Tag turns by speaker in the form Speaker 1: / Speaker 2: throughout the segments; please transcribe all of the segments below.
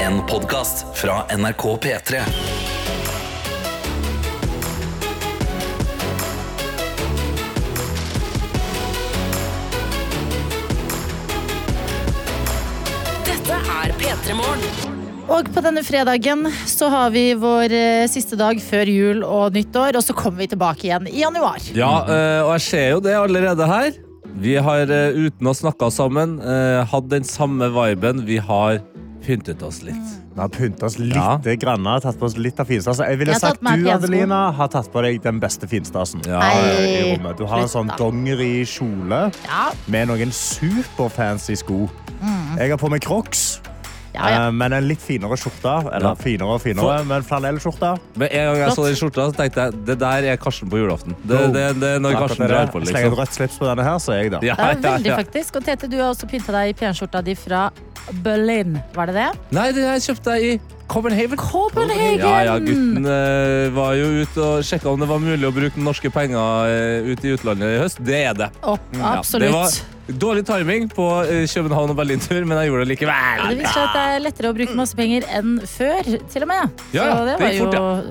Speaker 1: En podcast fra NRK P3
Speaker 2: Dette er P3 Morgen.
Speaker 3: Og på denne fredagen så har vi vår eh, siste dag før jul og nyttår, og så kommer vi tilbake igjen i januar.
Speaker 4: Ja, eh, og jeg ser jo det allerede her. Vi har, eh, uten å snakke sammen, eh, hatt den samme viben. Vi har pyntet oss litt.
Speaker 5: Vi har pynta oss litt eh,
Speaker 4: Ja.
Speaker 5: grann, har tatt på oss litt av finstasen. Jeg ville
Speaker 3: Jeg har tatt
Speaker 5: sagt
Speaker 3: meg
Speaker 5: du,
Speaker 3: pensko.
Speaker 5: Adelina, har tatt på deg den beste finstasen.
Speaker 4: Ja,
Speaker 5: I
Speaker 3: Nei,
Speaker 5: rommet. Du har en sånn
Speaker 3: slutt da.
Speaker 5: dongeri kjole
Speaker 3: Ja, Mm.
Speaker 5: med noen superfancy sko. Jeg har på meg crocs,
Speaker 3: ja, ja.
Speaker 5: eh, men en litt finere skjorte. Eller
Speaker 4: Ja.
Speaker 5: finere og finere, men flanellskjorte.
Speaker 4: Med en gang jeg så
Speaker 3: Flott.
Speaker 4: den skjorta, så tenkte jeg det der er Karsten på julaften. Det,
Speaker 5: Jo.
Speaker 4: det, det er når
Speaker 5: Akkurat
Speaker 4: Karsten
Speaker 5: det der.
Speaker 4: drar på,
Speaker 5: Slenger et
Speaker 4: liksom.
Speaker 5: rødt slips på denne her, så er jeg der.
Speaker 4: Ja,
Speaker 3: Det er
Speaker 4: ja,
Speaker 3: veldig
Speaker 4: ja.
Speaker 3: faktisk. Og Tete, du har også pynta deg i penskjorta di fra Berlin. Var det det?
Speaker 4: Nei, det jeg kjøpte jeg i Copenhagen.
Speaker 3: Copenhagen!
Speaker 4: Ja, ja, gutten eh, var jo ute og sjekka om det var mulig å bruke norske penger eh, ute i utlandet i høst. Det er det.
Speaker 3: Å,
Speaker 4: Mm, Ja,
Speaker 3: absolutt.
Speaker 4: det var dårlig timing på eh, København og Berlin-tur, men jeg gjorde det likevel.
Speaker 3: Det viser seg at det er lettere å bruke masse penger enn før, til og med. Så
Speaker 4: Ja, ja,
Speaker 3: det
Speaker 4: det
Speaker 3: var
Speaker 4: gikk
Speaker 3: jo,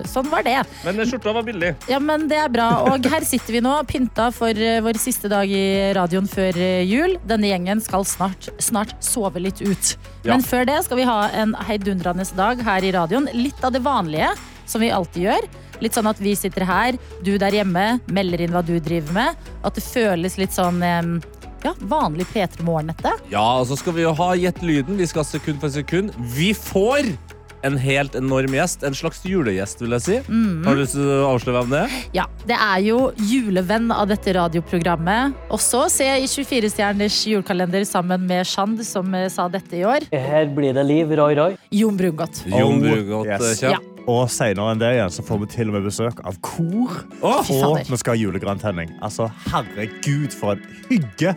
Speaker 4: fort,
Speaker 3: sånn var det.
Speaker 4: Men eh, skjorta var billig.
Speaker 3: Ja, men det er bra. Og her sitter vi nå, pynta for eh, vår siste dag i radioen før eh, jul. Denne gjengen skal snart, snart sove litt ut.
Speaker 4: Ja.
Speaker 3: Men før det skal vi ha en heidundrende dag her i radioen. Litt av det vanlige, som vi alltid gjør. Litt sånn at vi sitter her, du der hjemme, melder inn hva du driver med. At det føles litt sånn eh, ja, vanlig P3 Morgen-nette.
Speaker 4: Ja, og så skal vi jo ha Gjett lyden. Vi skal sekund for sekund. Vi får en helt enorm gjest. En slags julegjest, vil jeg si. Har du lyst til å avsløre hvem det er?
Speaker 3: Ja, det er jo julevenn av dette radioprogrammet. Også se i 24-stjerners julekalender sammen med Shand, som eh, sa dette i år.
Speaker 6: Her blir det liv, roi, roi.
Speaker 3: Jon Brungot.
Speaker 4: Jon eh,
Speaker 5: Oh,
Speaker 4: Brugott
Speaker 5: yes.
Speaker 4: Kjem.
Speaker 3: Ja.
Speaker 5: Og senere enn det igjen, så får vi til og med besøk av kor.
Speaker 4: Åh!
Speaker 3: Fy fader.
Speaker 5: Og vi skal ha julegrantenning. Altså, herregud, for en hygge!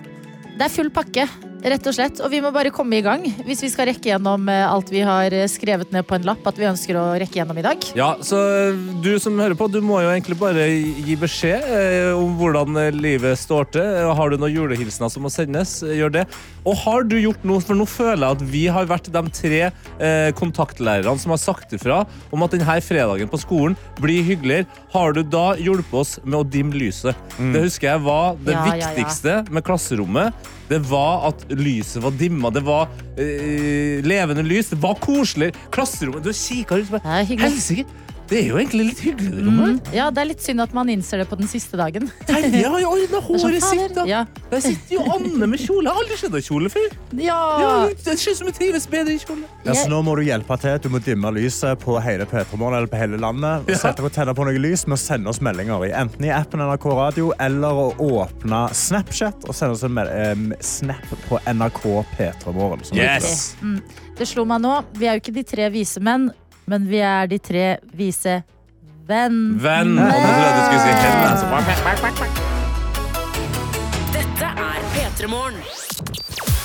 Speaker 3: Det er full pakke, rett og slett. Og vi må bare komme i gang hvis vi skal rekke gjennom eh, alt vi har eh, skrevet ned på en lapp at vi ønsker å rekke gjennom i dag.
Speaker 4: Ja, så eh, du som hører på, du må jo egentlig bare gi beskjed eh, om hvordan eh, livet står til. Eh, Har du noen julehilsener som må sendes, eh, gjør det. Og har du gjort noe, for nå føler jeg at vi har vært de tre eh, kontaktlærerne som har sagt ifra om at denne fredagen på skolen blir hyggeligere. Har du da hjulpet oss med å dimme lyset? Det husker jeg var det
Speaker 3: Ja, ja, ja.
Speaker 4: viktigste med klasserommet. Det var at lyset var dimma, det var eh, levende lys, det var koselig. Klasserommet, du kikket rundt og bare
Speaker 3: Det er hyggelig.
Speaker 4: Helsike! Det er jo egentlig litt hyggelig, det rommet.
Speaker 3: Ja, det er litt synd at man innser det på den siste dagen.
Speaker 4: Terje har jo ordna
Speaker 3: Det er sånn,
Speaker 4: håret sitt.
Speaker 3: fader,
Speaker 4: da.
Speaker 3: Ja.
Speaker 4: Der sitter jo Anne med kjole. Jeg har aldri sett deg i kjole før. Ja,
Speaker 3: ja.
Speaker 4: det ser ut som hun trives bedre i kjole.
Speaker 5: Ja, så
Speaker 3: Jeg-
Speaker 5: nå må du hjelpe til. Du må dimme lyset på hele P3-morgen eller på hele landet. Og
Speaker 4: Ja.
Speaker 5: sette og tenne på noe lys med å sende oss meldinger i enten i appen NRK Radio eller å åpne Snapchat og sende oss en mel- em, snap på NRK P3-morgen. som det heter.
Speaker 4: Yes.
Speaker 3: Mm. Det slo meg nå. Vi er jo ikke de tre vise menn, men vi er de tre vise venn.
Speaker 4: Venn. Og nå trodde jeg du skulle si henne. altså.
Speaker 3: Ah.
Speaker 4: Hva?
Speaker 2: Dette er P3 Morgen.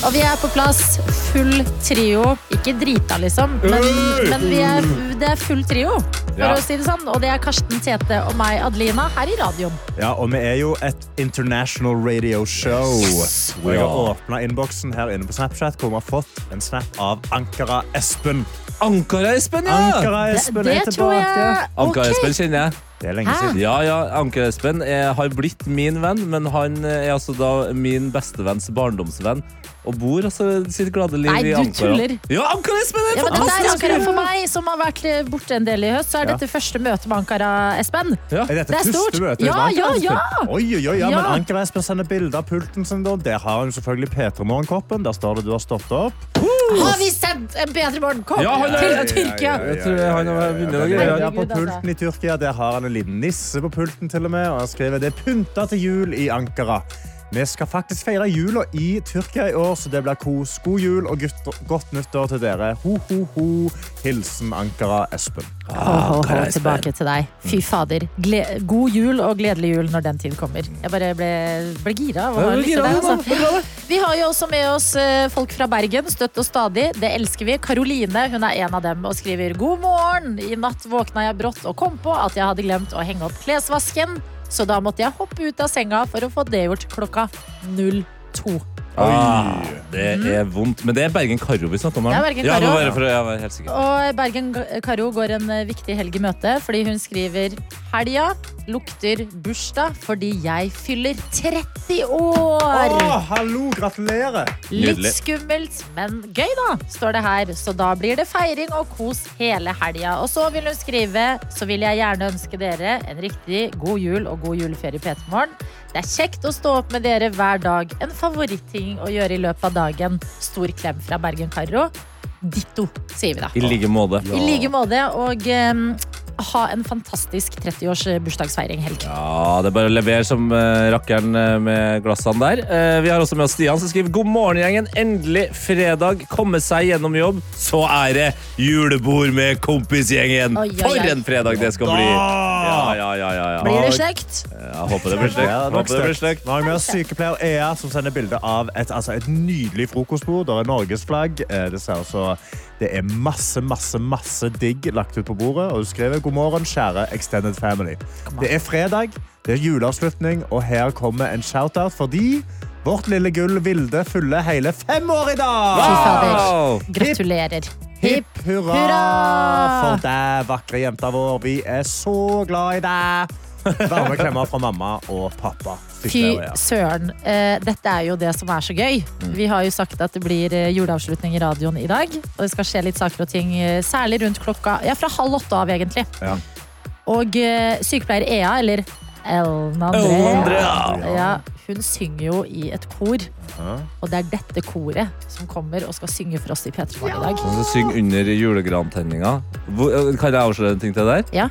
Speaker 3: Og vi er på plass. Full trio. Ikke drita, liksom, men, men vi er, det er full trio. For
Speaker 4: Ja.
Speaker 3: å si det sånn. Og det er Karsten, Tete og meg, Adelina, her i radioen.
Speaker 5: Ja, og vi er jo et international radio show. Og jeg har åpna innboksen her inne på Snapchat, hvor vi har fått en snap av Ankara Espen.
Speaker 4: Ankara Espen, ja!
Speaker 5: Ankara Espen er
Speaker 3: Det tror jeg
Speaker 5: tilbake.
Speaker 4: Ankara
Speaker 3: Ok.
Speaker 4: Espen kjenner jeg.
Speaker 5: Det er lenge
Speaker 3: Hæ?
Speaker 5: siden.
Speaker 4: Ja, ja, Anker Espen eh, har blitt min venn, men han eh, er altså da min bestevenns barndomsvenn. Og bor altså sitt glade liv
Speaker 3: Nei,
Speaker 4: i
Speaker 3: du
Speaker 4: Ankara.
Speaker 3: tuller.
Speaker 4: Ja, Ankara Espen er
Speaker 3: Ja, men det der,
Speaker 4: fantastisk!
Speaker 3: Ankara, for meg som har vært eh, borte en del i høst, så er dette første møte med Ankara, Espen.
Speaker 4: Ja.
Speaker 5: Er dette
Speaker 3: Det er
Speaker 5: første
Speaker 3: stort.
Speaker 5: møte?
Speaker 3: Ja,
Speaker 5: med Ankara
Speaker 3: ja, ja.
Speaker 5: Espen? Oi, oi, oi, ja,
Speaker 3: Ja.
Speaker 5: men Anker Espen sender bilder av pulten sin. da. Der har hun selvfølgelig P3morgen-koppen. Der står det du har stått opp.
Speaker 3: Har vi sendt en bedre morgenkopp
Speaker 4: Ja, han er-
Speaker 3: til Tyrkia?
Speaker 4: Jeg tror han har vunnet noe
Speaker 5: Ja,
Speaker 4: greier.
Speaker 5: ja, på
Speaker 3: Herregud, altså.
Speaker 5: pulten i Tyrkia. Der har han en liten nisse på pulten til og med. Og han skriver det er pynta til jul i Ankara. Vi skal faktisk feire jula i Tyrkia i år, så det blir kos. God jul og gutt, godt nyttår til dere. Ho, ho, ho. Hilsen Ankara Espen.
Speaker 3: Ho, ho, ho,
Speaker 4: Ankara Espen.
Speaker 3: tilbake til deg. Fy fader. Gle God jul og gledelig jul når den tid kommer. Jeg bare ble, ble gira av å
Speaker 4: Ja, du er
Speaker 3: lytte
Speaker 4: gira,
Speaker 3: der,
Speaker 4: du, da.
Speaker 3: altså. Vi har jo også med oss eh, folk fra Bergen, støtt og stadig. Det elsker vi. Karoline hun er en av dem og skriver god morgen. I natt våkna jeg brått og kom på at jeg hadde glemt å henge opp klesvasken, så da måtte jeg hoppe ut av senga for å få det gjort klokka 02.
Speaker 4: Ah, det er vondt. Men det er Bergen-Karo vi snakker om.
Speaker 3: Det er Bergen-Karo.
Speaker 4: eller? Ja, men bare for å ja, være helt sikker.
Speaker 3: Og Bergen Karo går en eh, viktig helg i møte fordi hun skriver Helga lukter bursdag fordi jeg fyller 30 år.
Speaker 5: Å, hallo, gratulerer!
Speaker 3: Litt
Speaker 4: Nydelig.
Speaker 3: skummelt, men gøy, da, står det her. Så da blir det feiring og kos hele helga. Og så vil hun skrive så vil jeg gjerne ønske dere en riktig god jul og god juleferie i P3morgen. Det er kjekt å stå opp med dere hver dag. En favoritting å gjøre i løpet av dagen. Stor klem fra Bergen-Carro. Ditto, sier vi da.
Speaker 4: I like måte.
Speaker 3: I like måte. Og em, ha en fantastisk 30-års bursdagsfeiring helg.
Speaker 4: Ja, det er bare å levere som eh, rakkeren eh, med glassene der. Eh, vi har også med oss Stian som skriver God morgen, gjengen. Endelig fredag. Komme seg gjennom jobb. Så er det julebord med kompisgjengen.
Speaker 3: Oi, oi, oi.
Speaker 4: For en fredag det skal bli. Ja, ja, ja, ja, ja.
Speaker 3: Blir det slekt?
Speaker 4: Jeg håper det blir stygt.
Speaker 5: Ja, det var
Speaker 4: Håper det blir
Speaker 5: stygt.
Speaker 4: stygt.
Speaker 5: Nå har vi med oss sykepleier Ea, som sender bilde av et, altså et nydelig frokostbord. Der er norgesflagg. Eh, Det, ser altså, det er masse, masse masse digg lagt ut på bordet. Og du skriver 'God morgen, kjære extended family'. Det er fredag, det er juleavslutning, og her kommer en shout-out fordi vårt lille gull Vilde fyller hele fem år i
Speaker 3: Fy
Speaker 5: dag!
Speaker 4: Wow!
Speaker 3: fader. Gratulerer.
Speaker 5: Hipp hurra
Speaker 3: hurra!
Speaker 5: for deg, vakre jenta vår. Vi er så glad i deg. Varme klemmer fra mamma og pappa.
Speaker 3: Fy
Speaker 5: Sykepleier Ea.
Speaker 3: søren. Eh, dette er jo det som er så gøy. Vi har jo sagt at det blir eh, juleavslutning i radioen i dag. Og det skal skje litt saker og ting, eh, særlig rundt klokka Ja, fra halv åtte av, egentlig.
Speaker 5: Ja.
Speaker 3: Og eh, sykepleier Ea, eller Ellen
Speaker 4: Ellen
Speaker 3: André,
Speaker 4: Andrea.
Speaker 3: ja, hun synger jo i et kor. Og det er dette koret som kommer og skal synge for oss i P3 Morgen i dag.
Speaker 4: Altså, Syng under julegrantenninga. Hvor- eh, Kan jeg avsløre en ting til der?
Speaker 3: Ja.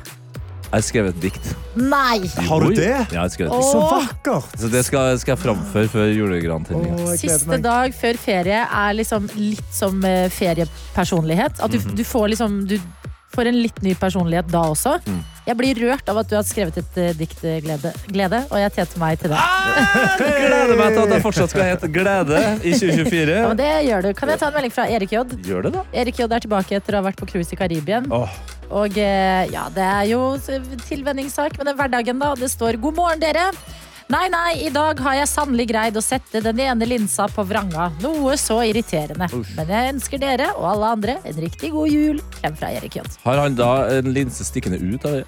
Speaker 4: Jeg har skrevet et dikt.
Speaker 3: Nei!
Speaker 5: Har du
Speaker 4: Oi.
Speaker 5: det?
Speaker 4: Ja, jeg har skrevet et
Speaker 3: Åh.
Speaker 4: dikt.
Speaker 5: Så vakkert!
Speaker 4: Så det skal, skal jeg framføre før julegrantenninga.
Speaker 3: Siste dag før ferie er liksom litt som eh, feriepersonlighet. At du, du får liksom Du får en litt ny personlighet da også. Jeg blir rørt av at du har skrevet et eh, dikt, eh, glede, glede, og jeg teter meg til det.
Speaker 4: Gleder meg til at jeg fortsatt skal hete Glede i 2024.
Speaker 3: Ja, men det gjør du. Kan jeg ta en melding fra Erik J?
Speaker 4: Gjør det, da.
Speaker 3: Erik J er tilbake etter å ha vært på cruise i Karibien.
Speaker 5: Åh.
Speaker 3: Og eh, ja, det er jo tilvenningssak med den hverdagen, da. Det står 'God morgen, dere'. Nei, nei, i dag har jeg sannelig greid å sette den ene linsa på vranga. Noe så irriterende. Men jeg ønsker dere og alle andre en riktig god jul. Klem fra Erik J.
Speaker 4: Har han da en linse stikkende ut av det?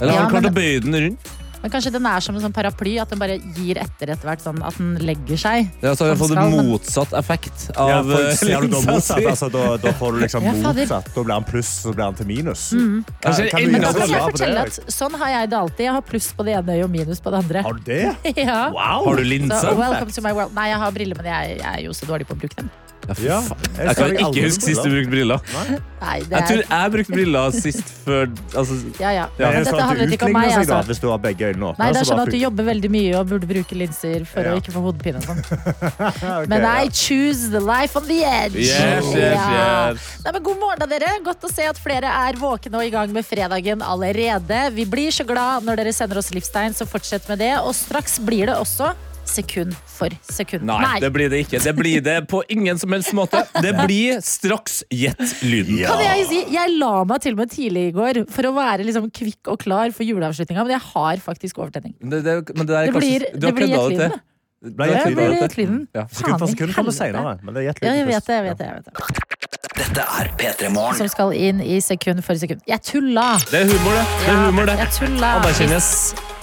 Speaker 4: Eller har
Speaker 3: Ja,
Speaker 4: han klart
Speaker 3: men-
Speaker 4: å bøye den rundt?
Speaker 3: Men kanskje den er som en sånn paraply, at den bare gir etter etter hvert, sånn at den legger seg.
Speaker 4: Ja, så har jeg
Speaker 3: Han
Speaker 4: fått
Speaker 3: skal, men-
Speaker 4: motsatt effekt av
Speaker 5: Ja, for
Speaker 4: eh,
Speaker 5: ser du da
Speaker 4: linsa
Speaker 5: motsatt,
Speaker 4: si.
Speaker 5: altså, da, da får du liksom
Speaker 3: Ja, fader.
Speaker 5: motsatt. Da blir han pluss, så blir han til minus. Kan,
Speaker 4: Kanskje
Speaker 5: kan du
Speaker 4: enda
Speaker 3: Men da
Speaker 5: gjøre
Speaker 3: kan jeg
Speaker 5: bra på det,
Speaker 3: fortelle at
Speaker 5: Erik?
Speaker 3: sånn har jeg det alltid. Jeg har pluss på det ene øyet og minus på det andre.
Speaker 5: Har du det?
Speaker 3: Ja.
Speaker 5: Wow!
Speaker 4: Har du
Speaker 3: Så,
Speaker 4: linse?
Speaker 3: welcome to my world. Nei, jeg har briller, men jeg, jeg er jo så dårlig på å bruke dem.
Speaker 5: Ja.
Speaker 4: Jeg kan ikke huske sist du brukte briller.
Speaker 3: Nei, det
Speaker 4: Jeg
Speaker 3: er,
Speaker 4: tror jeg brukte briller sist før altså,
Speaker 3: ja, ja.
Speaker 5: Ja,
Speaker 3: Men
Speaker 5: det er
Speaker 3: dette
Speaker 5: sånn at
Speaker 3: handlet
Speaker 5: du
Speaker 3: ikke om meg.
Speaker 5: utligner seg da,
Speaker 3: Altså.
Speaker 5: hvis du har begge øynene åpne.
Speaker 3: Nei, det er
Speaker 5: så
Speaker 3: sånn
Speaker 5: bare
Speaker 3: at du
Speaker 5: funker-
Speaker 3: jobber veldig mye og burde bruke linser for
Speaker 5: Ja.
Speaker 3: å ikke få hodepine. og sånn.
Speaker 5: Ja, ok,
Speaker 3: Men
Speaker 5: ja.
Speaker 3: I choose the life on the edge.
Speaker 4: Yes, yes,
Speaker 3: Ja.
Speaker 4: yes.
Speaker 3: Nei, men god morgen, da, dere. Godt å se at flere er våkne og i gang med fredagen allerede. Vi blir så glad når dere sender oss livstegn, så fortsett med det. Og straks blir det også sekund for sekund.
Speaker 4: Nei, det blir det ikke. Det blir det på ingen som helst måte. Det blir straks gjett lyden.
Speaker 3: Kan jeg si, jeg la meg til og med tidlig i går for å være liksom kvikk og klar for juleavslutninga, men jeg har faktisk overtenning.
Speaker 4: Det, det, men det der er
Speaker 3: Det blir-
Speaker 4: kanskje Du har
Speaker 3: det blir
Speaker 4: kødda det
Speaker 3: gjettlyd,
Speaker 4: til.
Speaker 5: Ble
Speaker 4: Du har
Speaker 5: jeg
Speaker 4: kødda
Speaker 5: tydelig?
Speaker 3: blir
Speaker 4: det til.
Speaker 3: gjettlyd.
Speaker 4: Ja.
Speaker 5: Sekund for
Speaker 3: Faen i
Speaker 5: sekund kommer
Speaker 3: helvete.
Speaker 5: senere. Men det er
Speaker 3: Ja,
Speaker 5: gjettlyd
Speaker 3: jeg vet
Speaker 5: først.
Speaker 3: det. jeg vet det, jeg vet det.
Speaker 1: Dette er P3 Morgen.
Speaker 3: Som skal inn i sekund for sekund. Jeg tulla!
Speaker 4: Det er humor, det. Det er humor, det.
Speaker 3: Jeg tulla.
Speaker 4: Anerkjennes.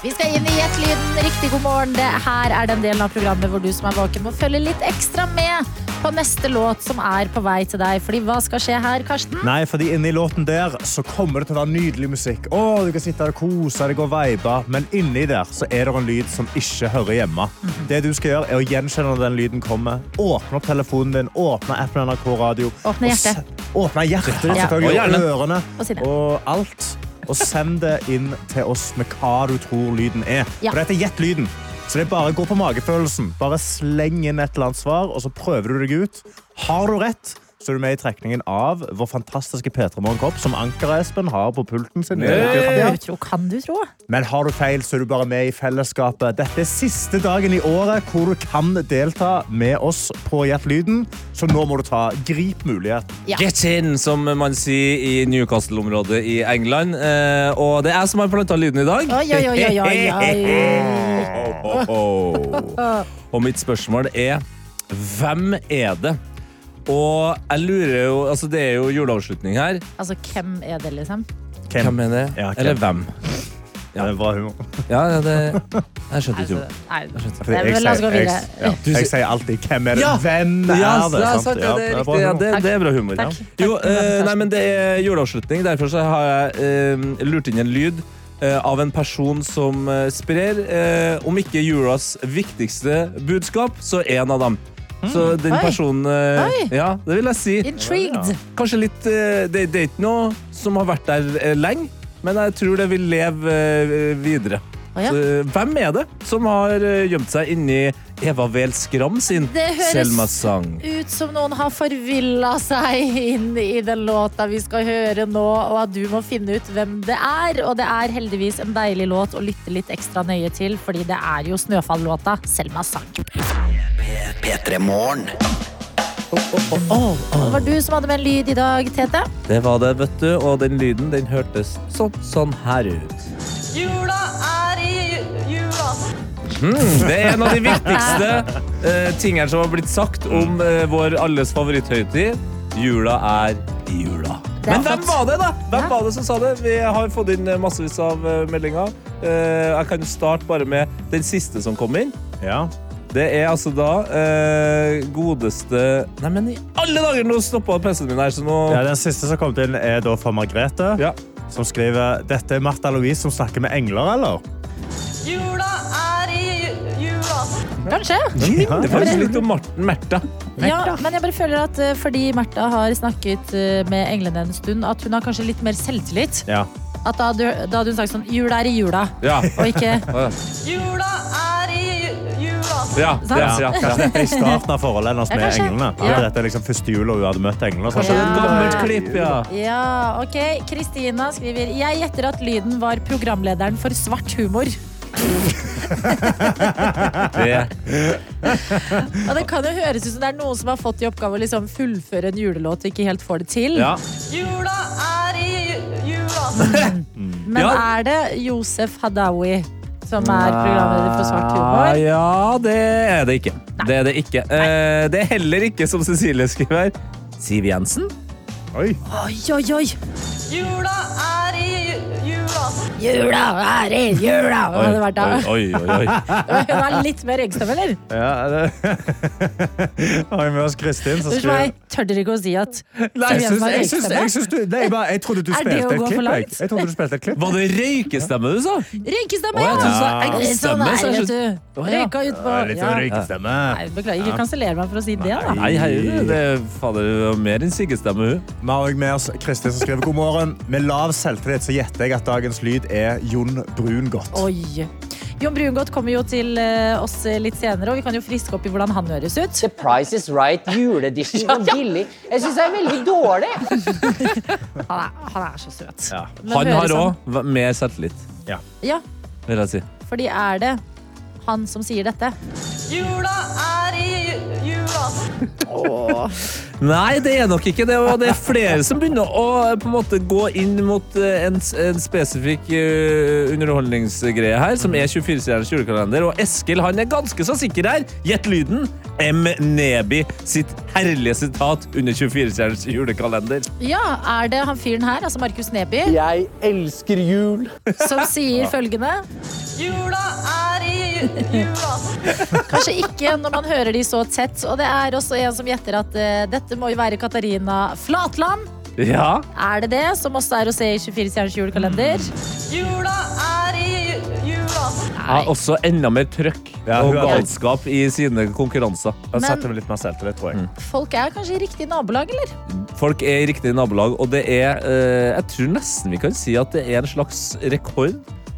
Speaker 3: Vi skal inn i Gjettlyden. Riktig god morgen. Det her er den delen av programmet hvor du som er våken, må følge litt ekstra med på neste låt som er på vei til deg. Fordi hva skal skje her, Karsten?
Speaker 5: Nei, fordi inni låten der så kommer det til å være nydelig musikk. Å, du kan sitte der og kose deg og vibe. Men inni der så er det en lyd som ikke hører hjemme.
Speaker 3: Mhm.
Speaker 5: Det du skal gjøre, er å gjenkjenne når den lyden kommer. Åpne opp telefonen din, åpne appen NRK Radio.
Speaker 3: Åpne
Speaker 5: og
Speaker 3: hjertet.
Speaker 5: se- Åpne hjertet ditt,
Speaker 3: Ja.
Speaker 5: selvfølgelig.
Speaker 4: Og
Speaker 5: Og
Speaker 4: hjernen.
Speaker 5: ørene.
Speaker 3: Og sinnet.
Speaker 5: Og alt. Og send det inn til oss med hva du tror lyden er.
Speaker 3: Ja.
Speaker 5: For dette er Gjett lyden. Så det er bare å gå på magefølelsen. Bare sleng inn et eller annet svar, og så prøver du deg ut. Har du rett, så er du med i trekningen av vår fantastiske P3 Morgenkopp, som Anker-Espen har på pulten sin.
Speaker 3: Kan du tro? Kan du tro?
Speaker 5: Men har du feil, så er du bare med i fellesskapet. Dette er siste dagen i året hvor du kan delta med oss på Gjett lyden, så nå må du ta grip muligheten.
Speaker 3: Ja.
Speaker 4: Get in, som man sier i Newcastle-området i England. Eh, og det er jeg som har planta lyden i dag.
Speaker 3: Oi, oi, oi, oi, oi, oi.
Speaker 4: Og mitt spørsmål er Hvem er det? Og jeg lurer jo Altså, det er jo juleavslutning her.
Speaker 3: Altså, hvem er det, liksom?
Speaker 4: Hvem, er det?
Speaker 5: Ja, hvem?
Speaker 4: Eller hvem?
Speaker 5: Ja, det er bra humor.
Speaker 4: Ja, ja, det Jeg skjønte
Speaker 3: Altså,
Speaker 4: ikke ordet.
Speaker 3: nei,
Speaker 5: Fordi
Speaker 3: men la oss gå
Speaker 5: jeg,
Speaker 3: videre.
Speaker 5: ja.
Speaker 4: Du
Speaker 5: jeg
Speaker 4: sier-
Speaker 5: sier alltid 'hvem er det'?
Speaker 4: Ja!
Speaker 5: Hvem er det?
Speaker 4: Ja, ja,
Speaker 5: sant?
Speaker 4: sant, ja, det er
Speaker 5: Ja,
Speaker 4: riktig.
Speaker 5: bra
Speaker 4: Ja,
Speaker 5: humor.
Speaker 4: det, det er bra humor.
Speaker 3: Takk.
Speaker 4: Ja. Jo, eh, nei, men det er juleavslutning. Derfor så har jeg eh, lurt inn en lyd eh, av en person som eh, sprer, eh, om ikke julas viktigste budskap, så en av dem. Så den
Speaker 3: Mm, Oi.
Speaker 4: personen eh,
Speaker 3: Oi.
Speaker 4: Ja, det vil jeg si.
Speaker 3: Intrigued.
Speaker 4: Kanskje litt eh, Det, det er ikke noe som har vært der eh, lenge, men jeg tror det vil leve eh, videre.
Speaker 3: Å, ja.
Speaker 4: Så, eh, hvem er det som har eh, gjemt seg inni Eva Wehl Skram sin
Speaker 3: Det høres-
Speaker 4: Selma-sang?
Speaker 3: Ut som noen har forvilla seg inn i den låta vi skal høre nå, og at du må finne ut hvem det er. Og det er heldigvis en deilig låt å lytte litt ekstra nøye til, fordi det er jo Snøfall-låta Selma sang.
Speaker 1: P3 Morgen.
Speaker 3: Det var du som hadde med en lyd i dag, Tete.
Speaker 4: Det var det, vet du, og den lyden den hørtes sånn, sånn her ut. Jula er i jula. Mm, det er en av de viktigste eh, tingene som har blitt sagt om eh, vår alles favoritthøytid. Jula er i jula.
Speaker 3: Det er
Speaker 4: Men hvem
Speaker 3: flott.
Speaker 4: var det, da? Hvem
Speaker 3: Ja.
Speaker 4: var det som sa det? Vi har fått inn eh, massevis av eh, meldinger. Eh, jeg kan starte bare med den siste som kom inn.
Speaker 5: Ja.
Speaker 4: Det er altså da eh, godeste Nei, men i alle dager! Nå stoppa PC-en min her, så nå
Speaker 5: Ja, den siste som kom til, er da fra Margrethe,
Speaker 4: Ja.
Speaker 5: som skriver Dette er Martha Louise som snakker med engler, eller?
Speaker 3: Kanskje.
Speaker 5: Ja.
Speaker 4: Det var litt om Marten Märtha.
Speaker 3: Ja, men jeg bare føler at eh, fordi Märtha har snakket eh, med englene en stund, at hun har kanskje litt mer selvtillit.
Speaker 5: Ja.
Speaker 3: At da, hadde- da hadde hun sagt sånn Jula er i jula,
Speaker 4: Ja.
Speaker 3: og ikke
Speaker 4: ja, det
Speaker 3: Sant?
Speaker 4: er, ja,
Speaker 5: Kanskje
Speaker 4: ja.
Speaker 5: dette er i starten av forholdet hennes
Speaker 3: Ja,
Speaker 5: med
Speaker 3: kanskje.
Speaker 5: englene.
Speaker 3: Ja.
Speaker 5: At Dette er liksom første jula hun hadde møtt englene. så
Speaker 4: Kanskje det er et
Speaker 5: kanskje-
Speaker 4: gammelt klipp, ja.
Speaker 3: Ja, ok. Kristina skriver Jeg gjetter at lyden var programlederen for svart humor.
Speaker 4: Det.
Speaker 3: Og det kan jo høres ut som det er noen som har fått i oppgave å liksom fullføre en julelåt og ikke helt får det til.
Speaker 4: Ja.
Speaker 3: Men
Speaker 4: Ja.
Speaker 3: er det Josef Hadaoui som er programleder for svart humor?
Speaker 4: Ja, det er det ikke. Det er det ikke. Eh, det er heller ikke, som Cecilie skriver, Siv Jensen.
Speaker 5: Oi.
Speaker 3: Oi, oi, oi! Jula er i jula. Jula er i jula! Hva hadde det vært da?
Speaker 4: oi, oi, oi.
Speaker 3: Hun er litt mer engstelig, eller?
Speaker 5: Ja, det... Har vi med oss Kristin, som
Speaker 3: Unnskyld
Speaker 5: skriver
Speaker 3: meg, tør dere ikke å si at
Speaker 4: Nei,
Speaker 5: jeg, syns,
Speaker 3: Jensen har
Speaker 5: jeg, syns, jeg, syns du, nei, jeg, bare, jeg trodde du
Speaker 3: Er det å
Speaker 5: spilte et
Speaker 3: gå for
Speaker 5: klipp. Jeg.
Speaker 3: langt?
Speaker 5: jeg trodde du spilte et klipp.
Speaker 4: Var det røykestemme du sa?
Speaker 3: Rynkestemme!
Speaker 4: Å, jeg trodde du sa
Speaker 3: Ja. Sånn
Speaker 4: engstemme,
Speaker 3: er
Speaker 4: så jeg
Speaker 3: det,
Speaker 4: skjønte-
Speaker 3: vet du.
Speaker 4: Å, ja.
Speaker 3: Røyka ut på ja. sånn
Speaker 5: sånn røykestemme.
Speaker 3: Nei, Beklager, ikke kansellere meg for å si det, da.
Speaker 4: Nei, hei, det er fader, det var mer enn siggestemme, hun.
Speaker 5: Vi har også med oss Kristin som skriver god morgen. Med lav selvtillit så gjetter jeg at dagens lyd er Jon Brungot.
Speaker 3: Oi. Jon Brungot kommer jo til eh, oss litt senere, og vi kan jo friske opp i hvordan han høres ut.
Speaker 6: The Price is Right juleedition. Sånn billig. Jeg syns det er veldig dårlig.
Speaker 3: Han er, han er så søt. Men
Speaker 4: Han
Speaker 3: høres sånn-
Speaker 4: har òg mer selvtillit,
Speaker 3: Ja,
Speaker 4: vil jeg si.
Speaker 3: fordi er det han som sier dette?
Speaker 4: Nei, det er nok ikke det. Og det er flere som begynner å eh, på en måte gå inn mot eh, en, s- en spesifikk eh, underholdningsgreie her, som er 24-stjerners julekalender. Og Eskil han er ganske så sikker her. Gjett lyden. M. Neby sitt herlige sitat under 24-stjerners julekalender.
Speaker 3: Ja, er det han fyren her, altså Markus Neby,
Speaker 6: Jeg elsker jul.
Speaker 3: som sier følgende? Kanskje ikke når man hører de så tett. Og det er også en som gjetter at eh, dette må jo være Katarina Flatland.
Speaker 4: Ja.
Speaker 3: Er det det, som også er å se i 24 stjerners julekalender?
Speaker 4: ja også enda mer trøkk
Speaker 5: Ja, hun
Speaker 4: og
Speaker 5: er-
Speaker 4: galskap i sine konkurranser. Mm.
Speaker 5: Da
Speaker 3: Men-
Speaker 5: setter vi litt mer selvtillit, tror jeg.
Speaker 3: Folk er kanskje i riktig nabolag, eller?
Speaker 4: Folk er i riktig nabolag, og det er eh, Jeg tror nesten vi kan si at det er en slags rekord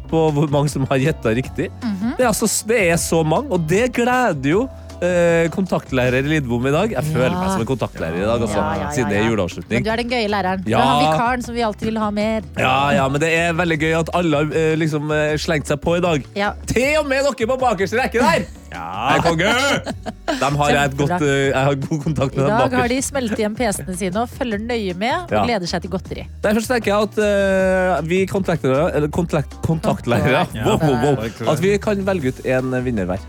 Speaker 4: på hvor mange som har gjetta riktig.
Speaker 3: Mhm.
Speaker 4: det, er altså, det er så mange, og det gleder jo eh, kontaktlærer Lidbom i dag. Jeg føler meg som en kontaktlærer i dag, altså,
Speaker 3: Ja, ja, ja,
Speaker 4: siden det er
Speaker 3: ja.
Speaker 4: juleavslutning.
Speaker 3: Men du er den gøye læreren. Du
Speaker 4: Ja.
Speaker 3: er han vikaren som vi alltid vil ha mer.
Speaker 4: Ja, ja, men det er veldig gøy at alle har eh, liksom eh, slengt seg på i dag.
Speaker 3: Ja.
Speaker 4: Til og med dere på bakerste rekke der! Ja. Jeg er konge! Dem har jeg, et godt, eh, jeg har god kontakt
Speaker 3: I
Speaker 4: med. dem
Speaker 3: dag
Speaker 4: bakerst.
Speaker 3: har de smeltet igjen PC-ene sine og følger nøye med og
Speaker 4: Ja.
Speaker 3: gleder seg til godteri.
Speaker 4: Derfor så tenker jeg at eh, vi kontaktlærere, eller kontlak- kontaktlærere
Speaker 3: Kontaktlærere.
Speaker 4: wow, wow, wow, At vi kan velge ut en vinner hver.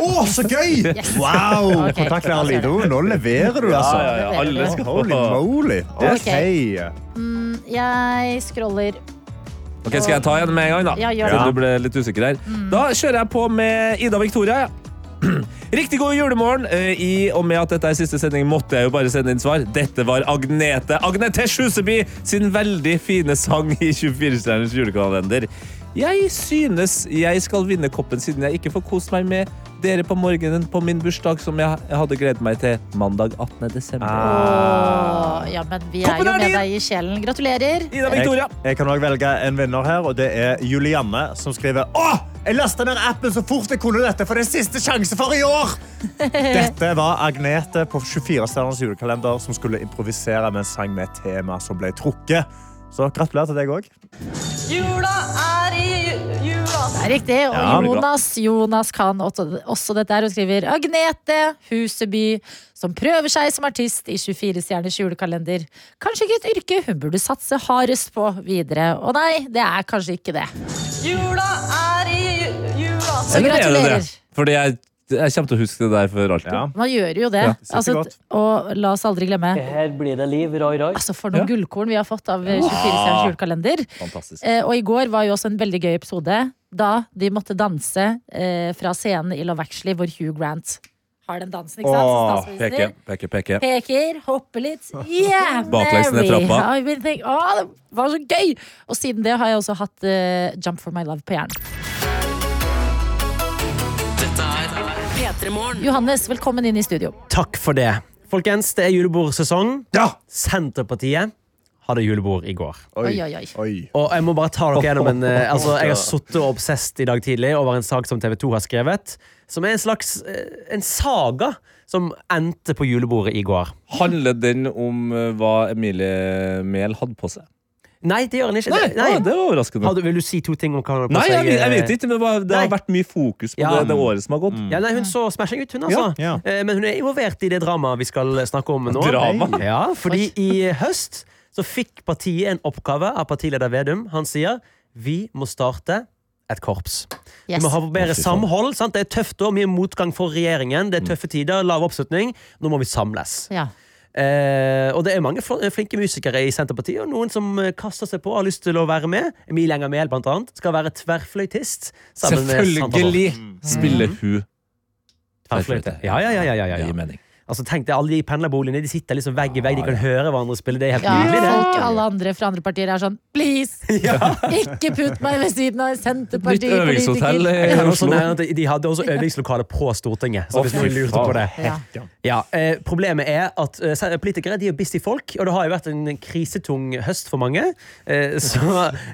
Speaker 5: Å, så gøy! Wow!
Speaker 3: Ok,
Speaker 5: Kontaktlærer
Speaker 3: da ser
Speaker 5: Lido, nå leverer du, altså.
Speaker 4: Ja, ja, ja. Alle skal få.
Speaker 5: Holy moly. Det
Speaker 3: Ok.
Speaker 5: sier
Speaker 3: Jeg scroller
Speaker 4: Ok, Skal jeg ta en med en gang, da?
Speaker 3: Ja, gjør det. Mm.
Speaker 4: Siden du ble litt usikker her. Da kjører jeg på med Ida Victoria. Riktig god julemorgen. Eh, I og med at dette er siste sending, måtte jeg jo bare sende inn svar. Dette var Agnete Agnetesh Huseby sin veldig fine sang i 24-stjerners julekalender. Jeg synes jeg skal vinne koppen siden jeg ikke får kost meg med dere på morgenen på min bursdag, som jeg hadde gledet meg til mandag 18. desember.
Speaker 5: Ah,
Speaker 3: Åh, Ja, men vi er
Speaker 4: Koppen
Speaker 3: jo
Speaker 4: er
Speaker 3: med
Speaker 4: din!
Speaker 3: deg i sjelen. Gratulerer.
Speaker 4: Ida
Speaker 5: Jeg,
Speaker 4: Victoria.
Speaker 5: jeg kan også velge en vinner her, og det er Julianne, som skriver Åh, jeg lastet ned appen så fort jeg kunne dette, for det er siste sjanse for i år! Dette var Agnete på 24-stjerners julekalender som skulle improvisere med en sang med et tema som ble trukket. Så gratulerer til deg òg.
Speaker 7: Jula er i ju- jula.
Speaker 3: Det er riktig.
Speaker 5: Ja, det
Speaker 3: Og
Speaker 5: blir bra.
Speaker 3: Jonas, Jonas kan også, også dette her. Hun skriver Agnete Huseby, som prøver seg som artist i 24-stjerners julekalender. Kanskje ikke et yrke hun burde satse hardest på videre. Og nei, det er kanskje ikke det.
Speaker 7: Jula er i ju- jula.
Speaker 3: Så
Speaker 4: Eller er det
Speaker 3: gratulerer.
Speaker 4: det? Fordi jeg, jeg kommer til å huske det der for alltid.
Speaker 5: Ja.
Speaker 3: Man gjør jo det.
Speaker 4: Ja,
Speaker 5: sitter
Speaker 3: altså,
Speaker 5: godt.
Speaker 3: og la oss aldri glemme
Speaker 6: Her blir det liv, roi, roi.
Speaker 3: Altså For noen gullkorn vi har fått av 24-stjerners julekalender.
Speaker 4: Fantastisk.
Speaker 3: Eh, og i går var jo også en veldig gøy episode da de måtte danse eh, fra scenen i Love Actually, hvor Hugh Grant har den dansen. ikke
Speaker 5: Åh,
Speaker 3: sant? Som statsminister.
Speaker 4: Ah, Peke, peke, peke.
Speaker 3: Peker, hopper litt. Yeah,
Speaker 4: Baklengs ned
Speaker 3: Mary!
Speaker 4: trappa.
Speaker 3: I've been thinking, Åh, det var så gøy! Og siden det har jeg også hatt eh, Jump for my love på hjernen.
Speaker 2: P3morgen.
Speaker 3: Johannes, velkommen inn i studio.
Speaker 8: Takk for det. Folkens, det er julebordsesong.
Speaker 5: Ja!
Speaker 8: Senterpartiet hadde julebord i går.
Speaker 3: Oi, oi, oi.
Speaker 8: Og jeg må bare ta dere gjennom en eh, altså, Jeg har sittet og obsesst i dag tidlig over en sak som TV 2 har skrevet, som er en slags eh, en saga som endte på julebordet i går.
Speaker 4: Handler den om eh, hva Emilie Mehl hadde på seg?
Speaker 8: Nei, det gjør den ikke. Det-
Speaker 4: Ah, det var overraskende.
Speaker 8: Har du, vil du si to ting om hva hun har på
Speaker 4: Nei, jeg,
Speaker 8: seg?
Speaker 4: vet- jeg vet ikke, men det, var, det har
Speaker 8: Nei.
Speaker 4: vært mye fokus på
Speaker 8: Ja. Mm.
Speaker 4: det, det året som har gått.
Speaker 8: eh, Ja, nei, hun så smashing ut, hun, altså.
Speaker 5: Ja,
Speaker 8: Eh, Men hun er involvert i det dramaet vi skal snakke om nå.
Speaker 4: Drama?
Speaker 8: Ja, fordi i høst så fikk partiet en oppgave av partileder Vedum. Han sier vi må starte et korps. Vi
Speaker 3: Yes.
Speaker 8: må ha bedre samhold. Sant? Det er tøft og mye motgang for regjeringen. Det er tøffe tider, lav oppslutning. Nå må vi samles.
Speaker 3: Ja.
Speaker 8: Eh, og det er mange fl- flinke musikere i Senterpartiet, og noen som eh, kaster seg på og har lyst til å være med. Emilie Enger Mehl, blant annet, skal være tverrfløytist. sammen med Sandra Borch. Mm.
Speaker 4: Selvfølgelig spiller hun
Speaker 8: Tverrfløyte. Ja, ja, ja, ja, ja,
Speaker 4: Det
Speaker 8: ja.
Speaker 4: gir mening.
Speaker 8: Altså, tenk deg, alle de pendlerboligene de sitter liksom vegg i vegg, de kan høre hverandre spille. Det er helt
Speaker 3: Ja,
Speaker 8: nydelig, det.
Speaker 3: folk alle andre fra andre partier er sånn Please, ikke putt meg ved siden av en
Speaker 4: Nytt øvingshotell eh,
Speaker 3: Senterparti-politiker!
Speaker 4: i
Speaker 8: Jeg kan også
Speaker 4: Oslo.
Speaker 8: nevne at De hadde også øvingslokale på Stortinget. Så
Speaker 4: Å,
Speaker 8: hvis noen
Speaker 4: fy
Speaker 8: lurte
Speaker 4: faen.
Speaker 8: på det
Speaker 3: Ja.
Speaker 8: ja, eh, Problemet er at eh, se- politikere de er busy folk, og det har jo vært en krisetung høst for mange. Eh, så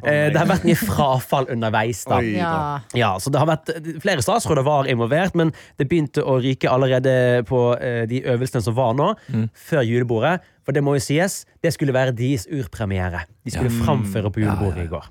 Speaker 8: eh, det har vært mye frafall underveis. da
Speaker 5: Oi.
Speaker 3: Ja.
Speaker 8: ja, så det har vært Flere statsråder var involvert, men det begynte å ryke allerede på eh, de øvelsene som var nå,
Speaker 4: Mm.
Speaker 8: før julebordet. For det må jo sies, det skulle være deres urpremiere. De skulle framføre på julebordet i går.